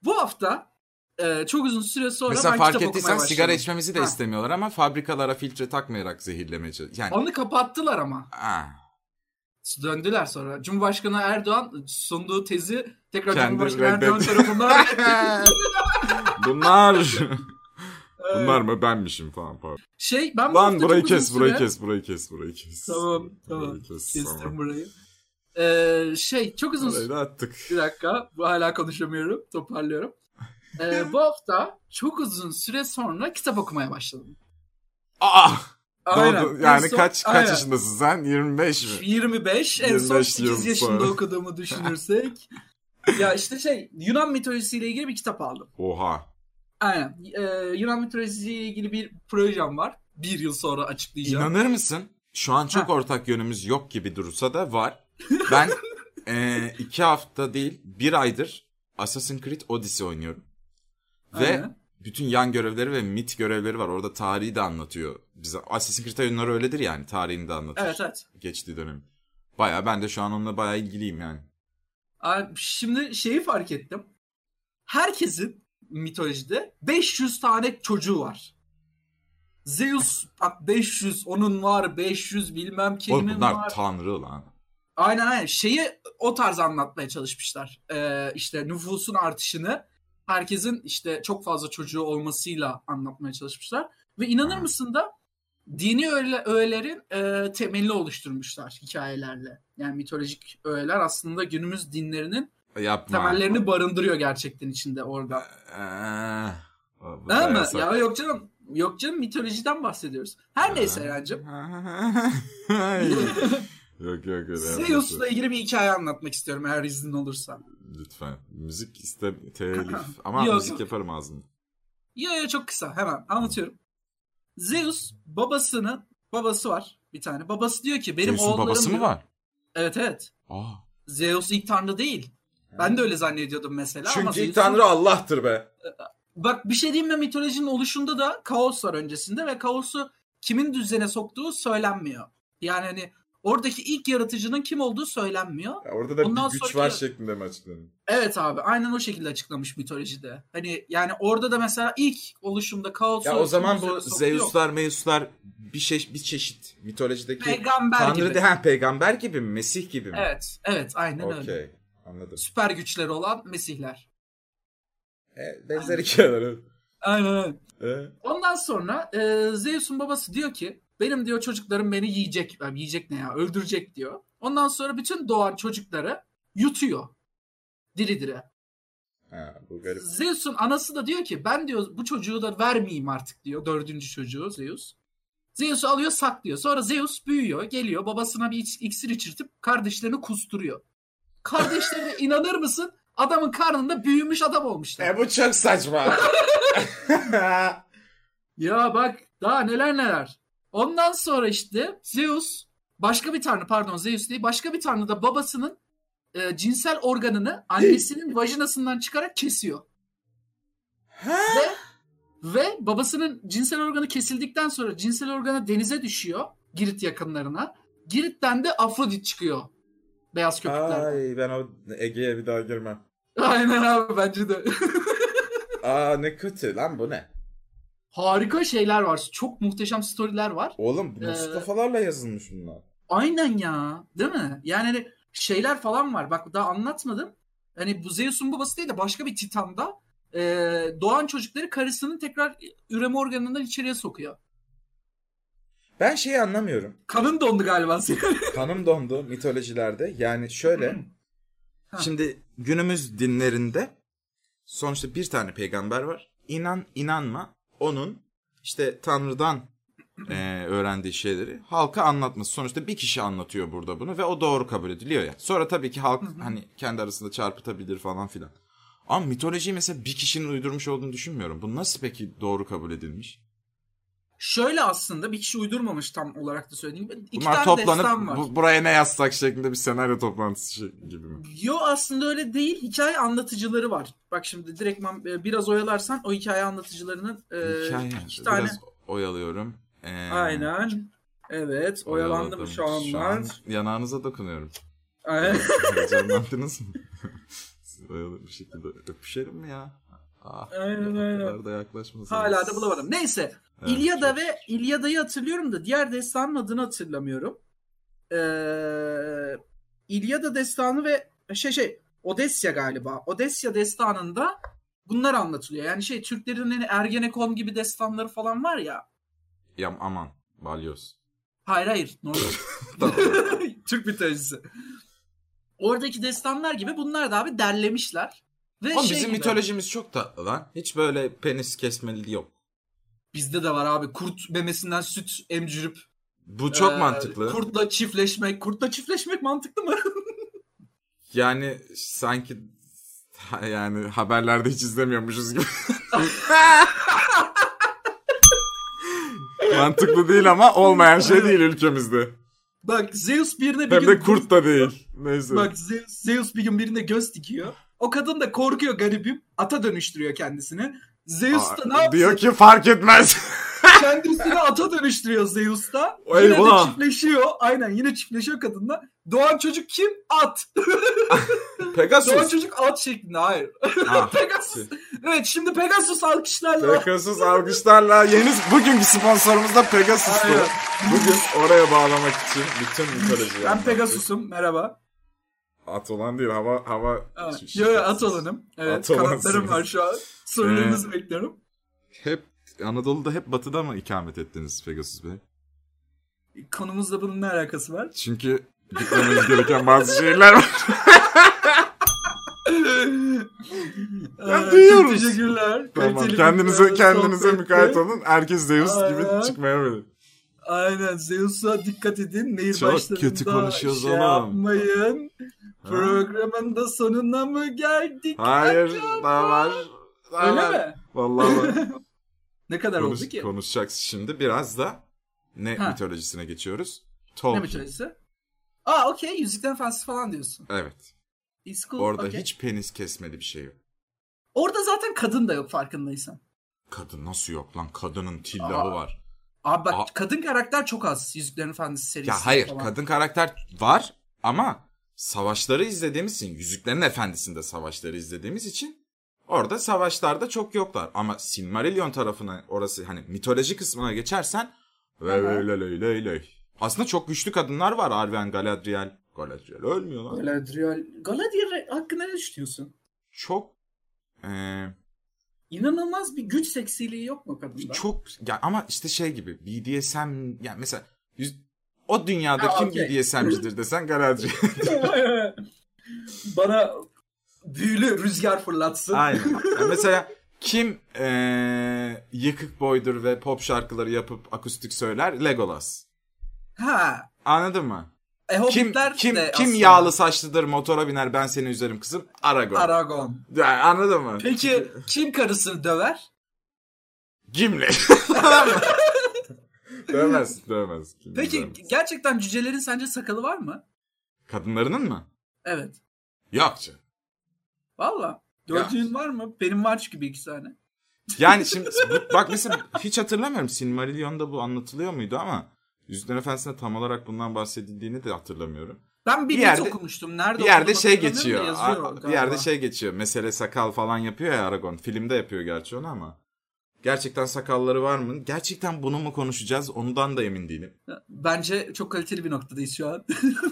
Speaker 3: Bu hafta e, çok uzun süre sonra
Speaker 2: Mesela
Speaker 3: ben
Speaker 2: fark
Speaker 3: kitap
Speaker 2: ettiysen
Speaker 3: okumaya
Speaker 2: sigara
Speaker 3: başladım.
Speaker 2: içmemizi de
Speaker 3: Ha.
Speaker 2: istemiyorlar ama fabrikalara filtre takmayarak zehirlemeye çalışıyor. Yani
Speaker 3: Onu kapattılar ama.
Speaker 2: ah,
Speaker 3: Döndüler sonra. Cumhurbaşkanı Erdoğan sunduğu tezi tekrar
Speaker 2: Kendi
Speaker 3: Cumhurbaşkanı Erdoğan
Speaker 2: reddet-
Speaker 3: tarafından
Speaker 2: bunlar
Speaker 3: e,
Speaker 2: bunlar mı benmişim falan pardon.
Speaker 3: şey ben bu hafta
Speaker 2: Lan
Speaker 3: çok
Speaker 2: burayı
Speaker 3: uzun
Speaker 2: kes, burayı
Speaker 3: süre-
Speaker 2: kes, burayı kes, burayı kes.
Speaker 3: Tamam, tamam.
Speaker 2: Burayı kes,
Speaker 3: Kestim
Speaker 2: tamam.
Speaker 3: burayı. E, şey çok uzun
Speaker 2: Burayı da attık.
Speaker 3: Bir dakika. Bu hala konuşamıyorum. Toparlıyorum. E, bu hafta çok uzun süre sonra kitap okumaya başladım.
Speaker 2: Aa!
Speaker 3: Aynen.
Speaker 2: Doğru.
Speaker 3: En
Speaker 2: Yani
Speaker 3: son-
Speaker 2: kaç kaç
Speaker 3: aynen.
Speaker 2: yaşındasın sen? 25 mi?
Speaker 3: 25 en son
Speaker 2: 25 yıl
Speaker 3: 8 yaşında
Speaker 2: sonra.
Speaker 3: okuduğumu düşünürsek. ya işte şey Yunan mitolojisiyle ilgili bir kitap aldım.
Speaker 2: Oha.
Speaker 3: Aynen. Ee, Yunan mitolojisiyle ilgili bir projem var. Bir yıl sonra açıklayacağım.
Speaker 2: İnanır mısın? Şu an çok
Speaker 3: Ha.
Speaker 2: ortak yönümüz yok gibi dursa da var. Ben eee, iki hafta değil bir aydır Assassin's Creed Odyssey oynuyorum. Ve
Speaker 3: Aynen.
Speaker 2: bütün yan görevleri ve mit görevleri var. Orada tarihi de anlatıyor bize. Assassin's Creed oyunları öyledir yani. Tarihini de anlatır.
Speaker 3: Evet evet.
Speaker 2: Geçtiği dönem. Baya ben de şu an onunla baya ilgiliyim yani.
Speaker 3: Abi, Şimdi şeyi fark ettim. Herkesin mitolojide 500 tane çocuğu var. Zeus bak 500 onun var 500 bilmem
Speaker 2: Oğlum
Speaker 3: kimin
Speaker 2: bunlar
Speaker 3: var.
Speaker 2: tanrı lan.
Speaker 3: Aynen aynen. Şeyi o tarz anlatmaya çalışmışlar. Ee, işte nüfusun artışını herkesin işte çok fazla çocuğu olmasıyla anlatmaya çalışmışlar. Ve inanır
Speaker 2: Ha.
Speaker 3: mısın da dini öğle, öğelerin e, temelini oluşturmuşlar hikayelerle. Yani mitolojik öğeler aslında günümüz dinlerinin
Speaker 2: Yapma.
Speaker 3: temellerini barındırıyor gerçekten içinde orada.
Speaker 2: Eee, bu da
Speaker 3: Değil mi?
Speaker 2: yasak.
Speaker 3: Ya yok canım. Yok canım mitolojiden bahsediyoruz. Her neyse Eren'cim.
Speaker 2: yok yok yok.
Speaker 3: Zeus'la ilgili bir hikaye anlatmak istiyorum eğer iznin olursa.
Speaker 2: Lütfen. Müzik iste telif. Ama
Speaker 3: Yok,
Speaker 2: müzik
Speaker 3: yok.
Speaker 2: yaparım ağzını.
Speaker 3: Ya ya çok kısa hemen anlatıyorum. Zeus babasının babası var bir tane. Babası diyor ki benim
Speaker 2: Zeus'un
Speaker 3: oğullarım...
Speaker 2: babası mı
Speaker 3: diyor-
Speaker 2: var?
Speaker 3: Evet evet.
Speaker 2: Aa.
Speaker 3: Zeus ilk tanrı değil. Ben de öyle zannediyordum mesela ama Zeus'un-
Speaker 2: Allah'tır be.
Speaker 3: Bak bir şey diyeyim mi mitolojinin oluşunda da kaos var öncesinde ve kaosu kimin düzene soktuğu söylenmiyor. Yani hani Oradaki ilk yaratıcının kim olduğu söylenmiyor.
Speaker 4: Ya orada da
Speaker 3: Ondan
Speaker 4: bir güç
Speaker 3: sonraki-
Speaker 4: var şeklinde mi açıklanıyor?
Speaker 3: Evet abi aynen o şekilde açıklamış mitolojide. Hani yani orada da mesela ilk oluşumda kaos
Speaker 2: Ya o
Speaker 3: oluşumu
Speaker 2: zaman bu
Speaker 3: üzerine sokuyor.
Speaker 2: Zeus'lar, Meus'lar bir şey bir çeşit mitolojideki
Speaker 3: peygamber
Speaker 2: tanrı
Speaker 3: gibi.
Speaker 2: de ha, peygamber gibi mi? Mesih gibi mi?
Speaker 3: Evet, evet aynen öyle.
Speaker 4: Okey. Anladım.
Speaker 3: Süper güçleri olan mesihler.
Speaker 4: E, benzer hikayeler.
Speaker 3: Aynen öyle.
Speaker 4: evet. E,
Speaker 3: Ondan sonra e, Zeus'un babası diyor ki benim diyor çocuklarım beni yiyecek. Yani yiyecek ne ya öldürecek diyor. Ondan sonra bütün doğan çocukları yutuyor. Diri diri.
Speaker 4: ha, bu garip.
Speaker 3: Zeus'un anası da diyor ki ben diyor bu çocuğu da vermeyeyim artık diyor. Dördüncü çocuğu Zeus. Zeus'u alıyor saklıyor. Sonra Zeus büyüyor geliyor babasına bir iç- iksir içirtip kardeşlerini kusturuyor. Kardeşlerine inanır mısın? Adamın karnında büyümüş adam olmuşlar.
Speaker 2: E bu çok saçma.
Speaker 3: Ya bak daha neler neler. Ondan sonra işte Zeus başka bir tanrı pardon Zeus değil başka bir tanrı da babasının e, cinsel organını annesinin vajinasından çıkarak kesiyor. Ve, ve babasının cinsel organı kesildikten sonra cinsel organı denize düşüyor Girit yakınlarına. Girit'ten de Afrodit çıkıyor. Beyaz köpüklerden.
Speaker 4: Ay ben o Ege'ye bir daha girmem.
Speaker 3: Aynen abi bence de.
Speaker 4: Aa ne kötü lan bu ne?
Speaker 3: Harika şeyler var. Çok muhteşem storyler var.
Speaker 4: Oğlum bu nasıl
Speaker 3: Ee,
Speaker 4: kafalarla yazılmış bunlar?
Speaker 3: Aynen ya. Değil mi? Yani hani şeyler falan var. Bak daha anlatmadım. Hani bu Zeus'un babası değil de başka bir Titan'da e, doğan çocukları karısının tekrar üreme organından içeriye sokuyor.
Speaker 4: Ben şeyi anlamıyorum.
Speaker 3: Kanın dondu galiba senin.
Speaker 4: Kanım dondu mitolojilerde. Yani şöyle.
Speaker 3: Hmm. Ha.
Speaker 2: Şimdi günümüz dinlerinde sonuçta bir tane peygamber var. İnan inanma onun işte Tanrı'dan eee, öğrendiği şeyleri halka anlatması. Sonuçta bir kişi anlatıyor burada bunu ve o doğru kabul ediliyor ya. Sonra tabii ki halk hani kendi arasında çarpıtabilir falan filan. Ama mitolojiyi mesela bir kişinin uydurmuş olduğunu düşünmüyorum. Bu nasıl peki doğru kabul edilmiş?
Speaker 3: Şöyle aslında bir kişi uydurmamış tam olarak da söylediğim gibi. İki
Speaker 2: Bunlar
Speaker 3: tane
Speaker 2: toplanıp
Speaker 3: destan var.
Speaker 2: bu- buraya ne yazsak şeklinde bir senaryo toplantısı şey- gibi mi?
Speaker 3: Yo aslında öyle değil. Hikaye anlatıcıları var. Bak şimdi direktman e, biraz oyalarsan o hikaye anlatıcılarının e,
Speaker 2: Hikaye.
Speaker 3: iki tane.
Speaker 2: Biraz oyalıyorum. Ee,
Speaker 3: Aynen. Evet oyalandım
Speaker 2: Oyaladım.
Speaker 3: şu anlar.
Speaker 2: yanağınıza dokunuyorum.
Speaker 3: Aynen.
Speaker 2: Heyecanlandınız mı? Siz oyalı bir şekilde öpüşelim mi ya? Ah,
Speaker 3: Aynen,
Speaker 2: o
Speaker 3: aynen.
Speaker 2: kadar da yaklaşmasanız.
Speaker 3: Hala da bulamadım. Neyse.
Speaker 2: Evet,
Speaker 3: İlyada
Speaker 2: çok-
Speaker 3: ve İlyada'yı hatırlıyorum da diğer destanın adını hatırlamıyorum. Ee, İlyada destanı ve şey şey Odesya galiba. Odesya destanında bunlar anlatılıyor. Yani şey Türklerin hani Ergenekon gibi destanları falan var ya.
Speaker 2: Ya aman balyoz.
Speaker 3: Hayır hayır. Normal.
Speaker 2: Tamam.
Speaker 3: Türk mitolojisi. Oradaki destanlar gibi bunlar da abi derlemişler. Ve
Speaker 2: Oğlum
Speaker 3: şey
Speaker 2: bizim
Speaker 3: gibi-
Speaker 2: mitolojimiz çok tatlı lan. Hiç böyle penis kesmeli yok.
Speaker 3: Bizde de var abi kurt memesinden süt emcürüp
Speaker 2: Bu çok
Speaker 3: Ee,
Speaker 2: mantıklı.
Speaker 3: Kurtla çiftleşmek. Kurtla çiftleşmek mantıklı mı?
Speaker 2: Yani sanki ha- yani haberlerde hiç izlemiyormuşuz gibi. Mantıklı değil ama olmayan şey değil ülkemizde.
Speaker 3: Bak Zeus birine bir
Speaker 2: Hem
Speaker 3: gün...
Speaker 2: de kurt da değil. Neyse.
Speaker 3: Bak Zeus, Zeus bir gün birine göz dikiyor. O kadın da korkuyor garibim. Ata dönüştürüyor kendisini. Zeus da ne
Speaker 2: Aa,
Speaker 3: yapsın?
Speaker 2: diyor ki fark etmez.
Speaker 3: Kendisini ata dönüştürüyor Zeus da.
Speaker 2: Vay
Speaker 3: yine
Speaker 2: ulan.
Speaker 3: de çiftleşiyor. Aynen yine çiftleşiyor kadınla. Doğan çocuk kim? At. Doğan
Speaker 2: Pegasus. Şey.
Speaker 3: çocuk at şeklinde. Hayır.
Speaker 2: Ha.
Speaker 3: Pegasus. Evet şimdi Pegasus alkışlarla.
Speaker 2: Pegasus alkışlarla yeni bugünkü sponsorumuz da Pegasus'tu.
Speaker 3: Aynen.
Speaker 2: Bugün oraya bağlamak için bütün mitolojiyi.
Speaker 3: Ben Pegasus'um. Merhaba.
Speaker 4: At olan değil hava hava.
Speaker 3: Evet.
Speaker 2: şey
Speaker 3: Yo, yo, at olanım. Evet,
Speaker 4: At
Speaker 3: kanatlarım
Speaker 4: olansınız.
Speaker 3: var şu an. Sorularınızı
Speaker 2: Ee.
Speaker 3: bekliyorum.
Speaker 2: Hep Anadolu'da hep batıda mı ikamet ettiniz Pegasus Bey?
Speaker 3: Konumuzla bunun ne alakası var?
Speaker 2: Çünkü gitmemiz gereken bazı şeyler var.
Speaker 3: Ee, çok
Speaker 2: duyuyoruz.
Speaker 3: Teşekkürler.
Speaker 2: tamam.
Speaker 3: Kaliteli
Speaker 2: Kendinize
Speaker 3: bir,
Speaker 2: kendinize
Speaker 3: sohbetti.
Speaker 2: mükayet olun. Herkes Zeus
Speaker 3: Aa.
Speaker 2: gibi çıkmaya böyle.
Speaker 3: Aynen Zeus'a dikkat edin. Nehir
Speaker 2: Çok
Speaker 3: başlarında
Speaker 2: kötü konuşuyoruz
Speaker 3: şey
Speaker 2: oğlum.
Speaker 3: yapmayın.
Speaker 2: Ha?
Speaker 3: Programın da sonuna mı geldik?
Speaker 2: Hayır, daha var. Daha
Speaker 3: Öyle
Speaker 2: var.
Speaker 3: mi?
Speaker 2: Vallahi var.
Speaker 3: Ne kadar
Speaker 2: Konuş,
Speaker 3: oldu ki?
Speaker 2: konuşacağız şimdi. Biraz da ne
Speaker 3: Ha.
Speaker 2: mitolojisine geçiyoruz?
Speaker 3: Ne
Speaker 2: Tolkien.
Speaker 3: mitolojisi? Aa okey. Yüzükten Efendisi falan diyorsun.
Speaker 2: Evet.
Speaker 3: It's cool.
Speaker 2: Orada
Speaker 3: okey.
Speaker 2: hiç penis kesmeli bir şey yok.
Speaker 3: Orada zaten kadın da yok farkındaysan.
Speaker 2: Kadın nasıl yok lan? Kadının tillahı
Speaker 3: Aa.
Speaker 2: var.
Speaker 3: Abi bak
Speaker 2: Aa.
Speaker 3: kadın karakter çok az Yüzüklerin Efendisi serisi.
Speaker 2: Ya hayır
Speaker 3: falan.
Speaker 2: kadın karakter var ama savaşları izlediğimiz için Yüzüklerin Efendisi'nde savaşları izlediğimiz için orada savaşlarda çok yoklar. Ama Silmarillion tarafına orası hani mitoloji kısmına geçersen ve
Speaker 5: Aha.
Speaker 2: öyle öyle öyle. Aslında çok güçlü kadınlar var Arwen Galadriel. Galadriel ölmüyor lan.
Speaker 3: Galadriel, Galadriel hakkında ne düşünüyorsun?
Speaker 2: Çok eee
Speaker 3: İnanılmaz bir güç seksiliği yok mu kadında?
Speaker 2: Çok ya ama işte şey gibi BDSM yani mesela yüz- o dünyada
Speaker 3: Ha,
Speaker 2: kim
Speaker 3: okey.
Speaker 2: BDSM'cidir desen Galadriel.
Speaker 3: Bana büyülü rüzgar fırlatsın.
Speaker 2: Aynen. Ya mesela kim eee, yıkık boydur ve pop şarkıları yapıp akustik söyler? Legolas.
Speaker 3: Ha.
Speaker 2: Anladın mı?
Speaker 3: E,
Speaker 2: Kim
Speaker 3: Hobbitler
Speaker 2: kim
Speaker 3: de
Speaker 2: kim
Speaker 3: aslında
Speaker 2: yağlı saçlıdır, motora biner, ben seni üzerim kızım? Aragorn.
Speaker 3: Aragon.
Speaker 2: Yani anladın mı?
Speaker 3: Peki kim karısını döver?
Speaker 2: Gimli. dövmez, dövmez. Gimli
Speaker 3: Peki
Speaker 2: dövmez.
Speaker 3: gerçekten cücelerin sence sakalı var mı?
Speaker 2: kadınlarının mı?
Speaker 3: Evet.
Speaker 2: Yok canım.
Speaker 3: Valla. Gördüğün var mı? Benim var çünkü bir iki tane.
Speaker 2: Yani şimdi bu- bak mesela hiç hatırlamıyorum Silmarillion'da bu anlatılıyor muydu ama Yüzüklerin Efendisi'nde tam olarak bundan bahsedildiğini de hatırlamıyorum.
Speaker 3: Ben bir,
Speaker 2: Bir
Speaker 3: bit
Speaker 2: yerde-
Speaker 3: okumuştum. Nerede
Speaker 2: bir yerde
Speaker 3: okuduğumu
Speaker 2: şey
Speaker 3: hatırlamıyorum da
Speaker 2: geçiyor.
Speaker 3: yazıyor
Speaker 2: a-
Speaker 3: galiba.
Speaker 2: bir yerde şey geçiyor. Mesele sakal falan yapıyor ya Aragon. Filmde yapıyor gerçi onu ama. Gerçekten sakalları var mı? Gerçekten bunu mu konuşacağız? Ondan da emin değilim.
Speaker 3: Bence çok kaliteli bir noktadayız şu an.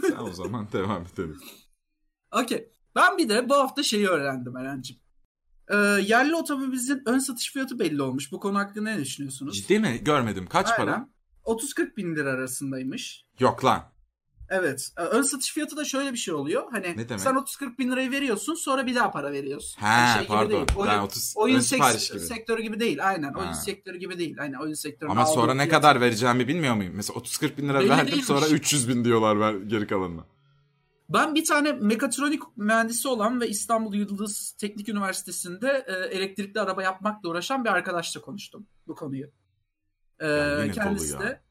Speaker 2: Sen o zaman devam edelim.
Speaker 3: Okey. Ben bir de bu hafta şeyi öğrendim Eren'cim. Ee, yerli otomobilin ön satış fiyatı belli olmuş. Bu konu hakkında ne düşünüyorsunuz?
Speaker 2: Ciddi mi? Görmedim. Kaç
Speaker 3: Aynen.
Speaker 2: para?
Speaker 3: 30-40 bin lira arasındaymış.
Speaker 2: Yok lan.
Speaker 3: Evet. Ee, Ön satış fiyatı da şöyle bir şey oluyor. Hani
Speaker 2: Ne demek?
Speaker 3: sen 30-40 bin lirayı veriyorsun sonra bir daha para veriyorsun.
Speaker 2: He
Speaker 3: Şey gibi
Speaker 2: pardon.
Speaker 3: değil. Oyun,
Speaker 2: ben 30
Speaker 3: oyun
Speaker 2: ön
Speaker 3: seks-
Speaker 2: sipariş gibi.
Speaker 3: sektörü gibi değil. Aynen. Oyun
Speaker 2: Ha.
Speaker 3: sektörü gibi değil. Aynen oyun sektörü.
Speaker 2: Ama sonra ne kadar vereceğimi bilmiyor muyum? Mesela 30-40 bin lira
Speaker 3: Belli
Speaker 2: verdim
Speaker 3: değilmiş.
Speaker 2: sonra 300 bin diyorlar ver, geri kalanına.
Speaker 3: Ben bir tane mekatronik mühendisi olan ve İstanbul Yıldız Teknik Üniversitesi'nde e, elektrikli araba yapmakla uğraşan bir arkadaşla konuştum bu konuyu. E,
Speaker 2: Ya yine
Speaker 3: kendisi
Speaker 2: dolu ya.
Speaker 3: de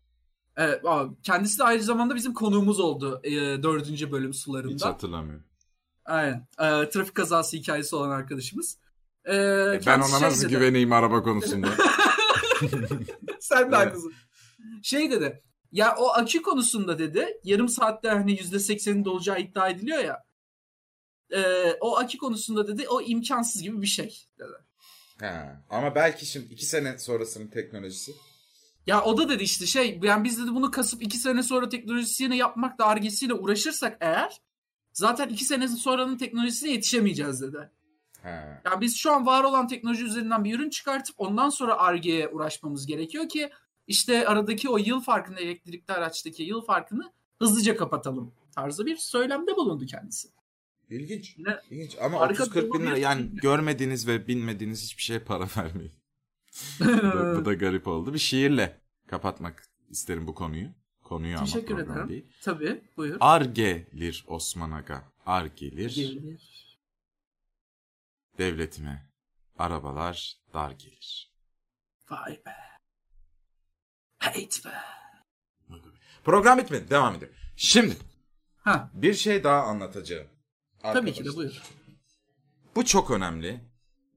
Speaker 3: Evet, abi, kendisi de aynı zamanda bizim konuğumuz oldu e, dördüncü bölüm sularında.
Speaker 2: Hiç hatırlamıyorum.
Speaker 3: Aynen. E, trafik kazası hikayesi olan arkadaşımız. E,
Speaker 2: E, ben
Speaker 3: kendisi
Speaker 2: ona
Speaker 3: şey
Speaker 2: nasıl
Speaker 3: dedi.
Speaker 2: güveneyim araba konusunda?
Speaker 3: Sen de
Speaker 2: Evet.
Speaker 3: haklısın. Şey dedi. Ya o akü konusunda dedi. Yarım saatte hani %80'in dolacağı iddia ediliyor ya. Ee, o akü konusunda dedi. O imkansız gibi bir şey dedi.
Speaker 4: Ha. Ama belki şimdi iki sene sonrasının teknolojisi.
Speaker 3: Ya o da dedi işte şey yani biz dedi bunu kasıp iki sene sonra teknolojisini yapmak da argesiyle uğraşırsak eğer zaten iki sene sonranın teknolojisine yetişemeyeceğiz dedi.
Speaker 4: Ha.
Speaker 3: Yani biz şu an var olan teknoloji üzerinden bir ürün çıkartıp ondan sonra Ar-Ge'ye uğraşmamız gerekiyor ki işte aradaki o yıl farkını elektrikli araçtaki yıl farkını hızlıca kapatalım tarzı bir söylemde bulundu kendisi.
Speaker 4: İlginç.
Speaker 3: Yine
Speaker 4: İlginç. Ama
Speaker 3: harika
Speaker 2: 30-40 bin lira
Speaker 3: bir-
Speaker 2: yani görmediğiniz ve bilmediğiniz hiçbir şeye para vermeyin. bu, da, bu da garip oldu. Bir şiirle kapatmak isterim bu konuyu. Konuyu ama
Speaker 3: Teşekkür
Speaker 2: program
Speaker 3: ederim.
Speaker 2: değil.
Speaker 3: Tabii buyur.
Speaker 2: Ar gelir Osman Aga. Ar gelir
Speaker 3: Gelir.
Speaker 2: devletime. Arabalar dar gelir.
Speaker 3: Vay be. Hate be.
Speaker 2: Program bitmedi. Devam edelim. Şimdi
Speaker 3: Ha
Speaker 4: Bir şey daha anlatacağım.
Speaker 3: tabii ki
Speaker 4: Arkadaşlar.
Speaker 3: de buyur.
Speaker 2: Bu çok önemli.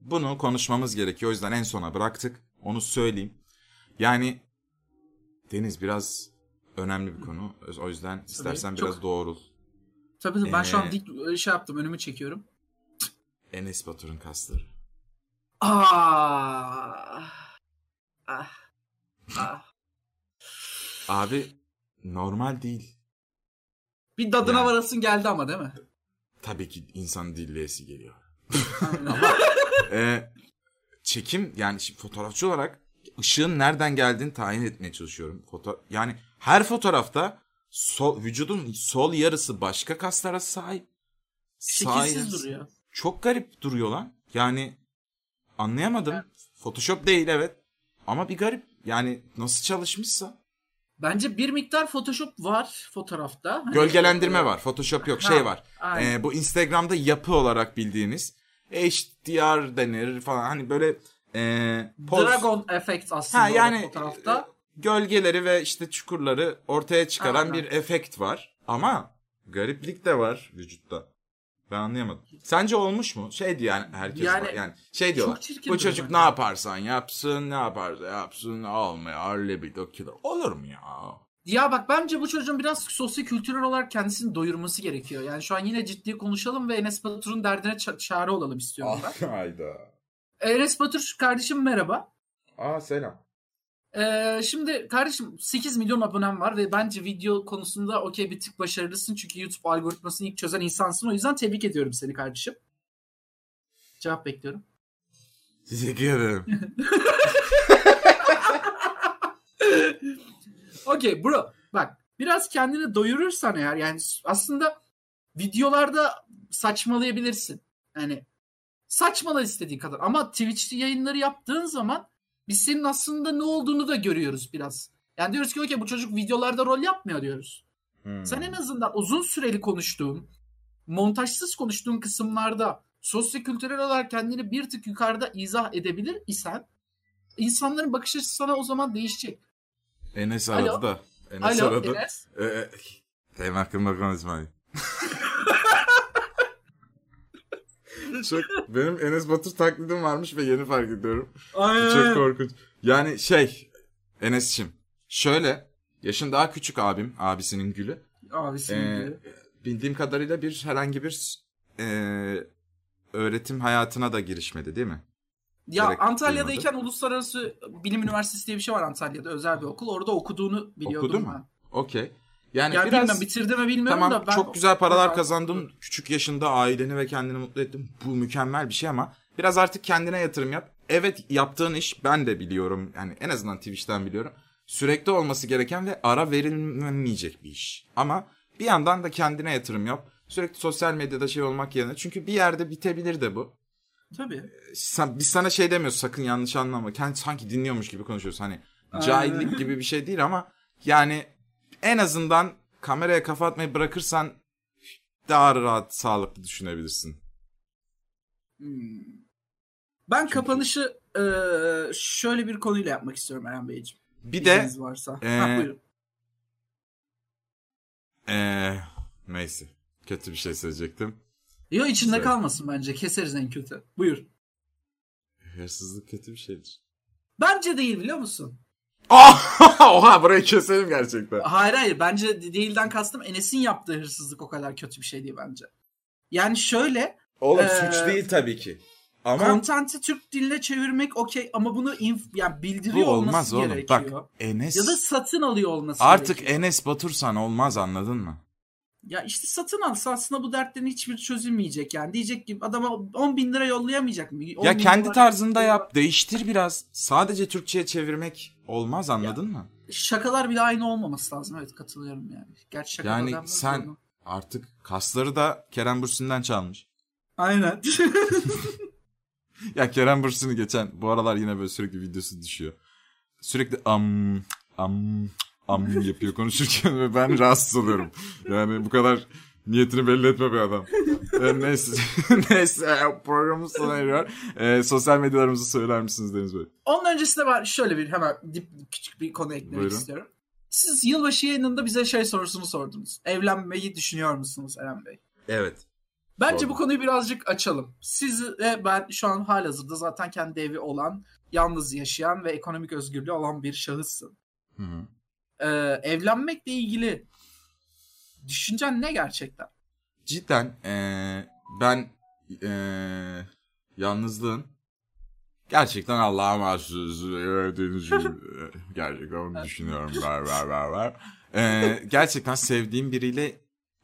Speaker 2: Bunu konuşmamız gerekiyor. O yüzden en sona bıraktık. Onu söyleyeyim. Yani Deniz biraz önemli bir konu. O yüzden istersen
Speaker 3: çok.
Speaker 2: biraz doğrul.
Speaker 3: Tabii tabii ben şu an
Speaker 2: Ee,
Speaker 3: dik şey yaptım önümü çekiyorum.
Speaker 2: Enes Batur'un kasları.
Speaker 3: Ah. Ah. Ah.
Speaker 2: Abi normal değil.
Speaker 3: Bir dadına
Speaker 2: Yani.
Speaker 3: varasın geldi ama değil mi?
Speaker 2: Tabii ki insan dilleyesi geliyor. Ee, çekim yani şimdi fotoğrafçı olarak ışığın nereden geldiğini tayin etmeye çalışıyorum. Foto yani her fotoğrafta sol, vücudun sol yarısı başka kaslara sahip. Sağ
Speaker 3: Şekilsiz
Speaker 2: yarısı-
Speaker 3: duruyor.
Speaker 2: Çok garip duruyor lan. Yani anlayamadım. Photoshop değil evet. Ama bir garip. Yani nasıl çalışmışsa.
Speaker 3: Bence bir miktar Photoshop var fotoğrafta. Hani-
Speaker 2: Gölgelendirme var. Photoshop yok. Şey
Speaker 3: Ha,
Speaker 2: var.
Speaker 3: aynen.
Speaker 2: Ee, bu Instagram'da yapı olarak bildiğiniz HDR denir falan. Hani böyle ee, poz-
Speaker 3: Dragon Effect aslında
Speaker 2: Ha, yani, e,
Speaker 3: o fotoğrafta.
Speaker 2: gölgeleri ve işte çukurları ortaya çıkaran
Speaker 3: Aynen.
Speaker 2: bir efekt var. Ama gariplik de var vücutta. Ben anlayamadım. Sence olmuş mu? Şey diyor yani herkes
Speaker 3: Yani-
Speaker 2: yani, şey diyorlar.
Speaker 3: Çok çirkin
Speaker 2: Bu
Speaker 3: durum
Speaker 2: çocuk
Speaker 3: bence.
Speaker 2: ne yaparsan yapsın, ne yaparsa yapsın almıyor. Libido kilo. Olur mu ya?
Speaker 3: Ya bak bence bu çocuğun biraz sosyo-kültürel olarak kendisini doyurması gerekiyor. Yani şu an yine ciddi konuşalım ve Enes Batur'un derdine ça- çare olalım istiyorum
Speaker 2: Ah.
Speaker 3: ben.
Speaker 4: Ah, Hayda.
Speaker 3: Enes Batur kardeşim merhaba.
Speaker 4: Aa selam.
Speaker 3: Ee, şimdi kardeşim 8 milyon abonem var ve bence video konusunda okey bir tık başarılısın. Çünkü YouTube algoritmasını ilk çözen insansın. O yüzden tebrik ediyorum seni kardeşim. Cevap bekliyorum.
Speaker 2: Teşekkür ederim.
Speaker 3: Okey bro bak biraz kendini doyurursan eğer yani s- aslında videolarda saçmalayabilirsin. Yani saçmala istediğin kadar ama Twitch yayınları yaptığın zaman biz senin aslında ne olduğunu da görüyoruz biraz. Yani diyoruz ki okey bu çocuk videolarda rol yapmıyor diyoruz.
Speaker 4: Hmm.
Speaker 3: Sen en azından uzun süreli konuştuğun, montajsız konuştuğun kısımlarda sosyokültürel olarak kendini bir tık yukarıda izah edebilir isen insanların bakış açısı sana o zaman değişecek.
Speaker 2: Enes
Speaker 3: Alo.
Speaker 2: aradı da. Enes
Speaker 3: Alo
Speaker 2: aradı.
Speaker 3: Enes.
Speaker 2: Ee, e, benim hakkımda konuşmayın. Çok, benim Enes Batur taklidim varmış ve yeni fark ediyorum. Çok korkunç. Yani şey Enes'cim şöyle yaşın daha küçük abim abisinin gülü.
Speaker 3: Abisi
Speaker 2: Ee,
Speaker 3: gibi.
Speaker 2: bildiğim kadarıyla bir herhangi bir e, öğretim hayatına da girişmedi değil mi?
Speaker 3: Ya
Speaker 2: direkt
Speaker 3: Antalya'dayken Uluslararası Bilim Üniversitesi diye bir şey var Antalya'da özel bir okul. Orada okuduğunu biliyordum
Speaker 2: Okudu mu?
Speaker 3: ben.
Speaker 2: Okey. Yani
Speaker 3: Ya
Speaker 2: Hani biraz
Speaker 3: bilmem bitirdi mi bilmiyorum
Speaker 2: tamam
Speaker 3: da ben
Speaker 2: çok güzel paralar
Speaker 3: Ben-
Speaker 2: kazandın. Küçük yaşında aileni ve kendini mutlu ettin. Bu mükemmel bir şey ama biraz artık kendine yatırım yap. Evet yaptığın iş ben de biliyorum. Yani en azından Twitch'ten biliyorum. Sürekli olması gereken ve ara verilmeyecek bir iş. Ama bir yandan da kendine yatırım yap. Sürekli sosyal medyada şey olmak yerine. Çünkü bir yerde bitebilir de bu.
Speaker 3: Tabii.
Speaker 2: Sen, biz sana şey demiyoruz sakın yanlış anlama. Kendi sanki dinliyormuş gibi konuşuyoruz. Hani
Speaker 3: Aynen.
Speaker 2: cahillik gibi bir şey değil ama yani en azından kameraya kafa atmayı bırakırsan daha rahat sağlıklı düşünebilirsin.
Speaker 3: Hmm. Ben kapanışı e, şöyle bir konuyla yapmak istiyorum Eren Beyciğim.
Speaker 2: Bir de
Speaker 3: İzniniz varsa.
Speaker 2: e,
Speaker 3: Ha, buyurun.
Speaker 2: eee e, neyse kötü bir şey söyleyecektim.
Speaker 3: Yo içinde
Speaker 2: Güzel.
Speaker 3: kalmasın bence. Keseriz en kötü. Buyur.
Speaker 2: Hırsızlık kötü bir şeydir.
Speaker 3: Bence değil biliyor musun?
Speaker 2: Oha burayı keselim gerçekten.
Speaker 3: Hayır hayır bence de- değilden kastım Enes'in yaptığı hırsızlık o kadar kötü bir şey değil bence. Yani şöyle
Speaker 4: Oğlum
Speaker 3: Ee,
Speaker 4: suç değil tabii ki. Ama
Speaker 3: kontenti Türk diline çevirmek okey ama bunu inf, yani bildiriyor
Speaker 2: Bu olmaz
Speaker 3: olması
Speaker 2: oğlum.
Speaker 3: gerekiyor.
Speaker 2: Bak Enes
Speaker 3: Ya da satın alıyor olması
Speaker 2: artık
Speaker 3: gerekiyor.
Speaker 2: Enes Batursan olmaz anladın mı?
Speaker 3: Ya işte satın alsa aslında bu dertlerin hiçbir çözülmeyecek yani. Diyecek ki adama 10 bin lira yollayamayacak mı? 10
Speaker 2: Ya
Speaker 3: bin
Speaker 2: kendi
Speaker 3: dolar-
Speaker 2: tarzında yap, değiştir biraz. Sadece Türkçe'ye çevirmek olmaz anladın mı?
Speaker 3: Şakalar bile aynı olmaması lazım. Evet katılıyorum yani. Gerçi şakalar
Speaker 2: Yani
Speaker 3: denmez
Speaker 2: sen-
Speaker 3: ona.
Speaker 2: Artık kasları da Kerem Bürsin'den çalmış.
Speaker 3: Aynen.
Speaker 2: Ya Kerem Bürsin'i geçen bu aralar yine böyle sürekli videosu düşüyor. Sürekli am am am yapıyor konuşurken ve ben rahatsız oluyorum. Yani bu kadar niyetini belli etme bir adam. Ee, neyse neyse programımız sona eriyor. Ee, sosyal medyalarımızı söyler misiniz Deniz Bey?
Speaker 3: Onun öncesinde ben şöyle bir hemen dip, dip- küçük bir konu eklemek
Speaker 2: Buyurun.
Speaker 3: istiyorum. Siz yılbaşı yayınında bize şey sorusunu sordunuz. Evlenmeyi düşünüyor musunuz Eren Bey?
Speaker 2: Evet.
Speaker 3: Bence
Speaker 2: Sordum.
Speaker 3: bu konuyu birazcık açalım. Siz ve ben şu an halihazırda zaten kendi evi olan, yalnız yaşayan ve ekonomik özgürlüğü olan bir şahıssın.
Speaker 2: Hı-hı.
Speaker 3: Ee, evlenmekle ilgili düşüncen ne gerçekten?
Speaker 2: cidden eee, ben eee, yalnızlığın gerçekten Allah'a mahsus verdiğiniz gibi, eee, gerçekten onu düşünüyorum ver ver ver ver. Eee, gerçekten sevdiğim biriyle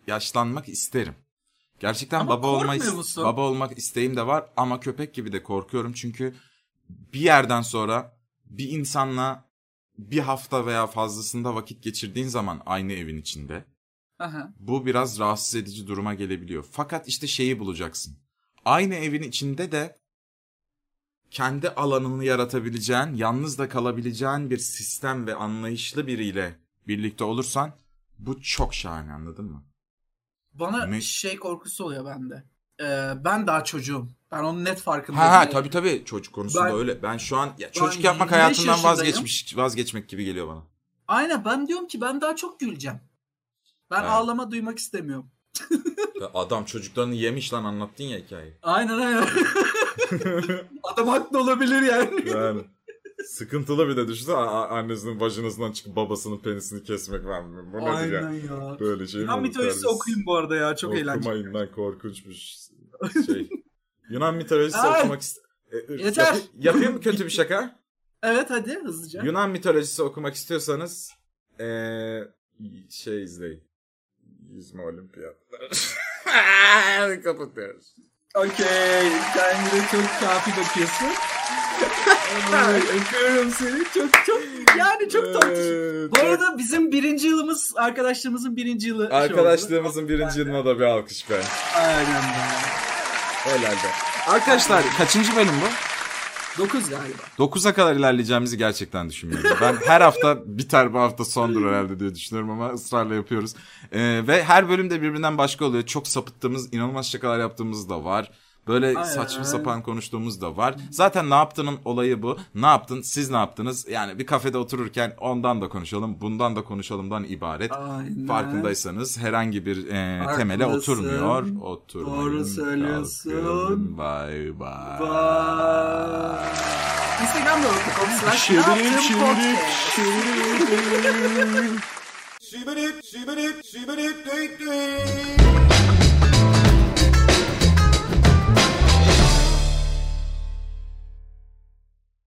Speaker 2: yaşlanmak isterim. Gerçekten
Speaker 3: Ama
Speaker 2: baba olmayı
Speaker 3: korkmuyor musun?
Speaker 2: baba olmak isteğim de var ama köpek gibi de korkuyorum çünkü bir yerden sonra bir insanla bir hafta veya fazlasında vakit geçirdiğin zaman aynı evin içinde
Speaker 3: Aha.
Speaker 2: bu biraz rahatsız edici duruma gelebiliyor. Fakat işte şeyi bulacaksın. Aynı evin içinde de kendi alanını yaratabileceğin, yalnız da kalabileceğin bir sistem ve anlayışlı biriyle birlikte olursan bu çok şahane anladın mı?
Speaker 3: Bana
Speaker 2: Ne-
Speaker 3: şey korkusu oluyor bende. Ee, ben daha çocuğum. Ben onun net farkındayım.
Speaker 2: Ha ha
Speaker 3: Yani
Speaker 2: tabii tabii çocuk konusunda
Speaker 3: Ben-
Speaker 2: öyle. Ben şu an ya, çocuk
Speaker 3: 25
Speaker 2: yapmak hayatından
Speaker 3: yaşındayım.
Speaker 2: vazgeçmiş vazgeçmek gibi geliyor bana.
Speaker 3: Aynen ben diyorum ki ben daha çok güleceğim. Ben
Speaker 2: Evet.
Speaker 3: ağlama duymak istemiyorum.
Speaker 2: Ya Adam çocuklarını yemiş lan anlattın ya hikayeyi.
Speaker 3: Aynen aynen. Adam haklı olabilir yani.
Speaker 2: Yani
Speaker 4: Sıkıntılı bir de düşünsene a- a- annesinin vajinasından çıkıp babasının penisini kesmek var. Bu ne diye.
Speaker 3: aynen ya.
Speaker 4: Böyle şey mi
Speaker 3: Yunan
Speaker 4: olur
Speaker 3: mitolojisi
Speaker 4: kardeşim?
Speaker 3: okuyun bu arada ya. Çok eğlenceli.
Speaker 4: Okumayın lan korkunçmuş şey. Yunan mitolojisi
Speaker 3: Ay!
Speaker 4: okumak ist- E, ır-
Speaker 3: Yeter.
Speaker 4: Yapı- yapayım mı kötü bir şaka?
Speaker 3: Evet hadi hızlıca.
Speaker 4: Yunan mitolojisi okumak istiyorsanız eee, şey izleyin. Yüzme olimpiyatları. Kapatıyoruz.
Speaker 3: Okey. Sen de çok kafi bakıyorsun. Ay, Öpüyorum seni. Çok çok yani
Speaker 4: Ee,
Speaker 3: çok tatlı.
Speaker 4: Eee,
Speaker 3: Bu arada bizim birinci yılımız arkadaşlığımızın birinci yılı. şey oldu.
Speaker 4: Arkadaşlığımızın birinci yılına da bir alkış be.
Speaker 3: Aynen be.
Speaker 4: Helal be.
Speaker 2: arkadaşlar kaçıncı bölüm bu?
Speaker 3: 9 galiba.
Speaker 2: 9'a kadar ilerleyeceğimizi gerçekten düşünmüyorum. Ben her hafta biter bu hafta sondur herhalde diye düşünüyorum ama ısrarla yapıyoruz. Ee, ve her bölümde birbirinden başka oluyor. Çok sapıttığımız, inanılmaz şakalar yaptığımız da var. Böyle
Speaker 3: Aynen.
Speaker 2: saçma sapan konuştuğumuz da var. Zaten ne yaptığının olayı bu. Ne yaptın, siz ne yaptınız? Yani bir kafede otururken ondan da konuşalım, bundan da konuşalımdan ibaret.
Speaker 3: Aynen.
Speaker 2: Farkındaysanız herhangi bir e, temele
Speaker 3: Haklısın.
Speaker 2: oturmuyor. Oturmayın.
Speaker 3: Doğru söylüyorsun.
Speaker 2: kalkın, Bay bay.
Speaker 3: Vay. Instagram.com slash ne
Speaker 2: Şibirik,
Speaker 3: yaptın
Speaker 2: şibirik,
Speaker 3: podcast.
Speaker 2: şibirik.
Speaker 1: Shibbity, shibbity, shibbity, dee, dee.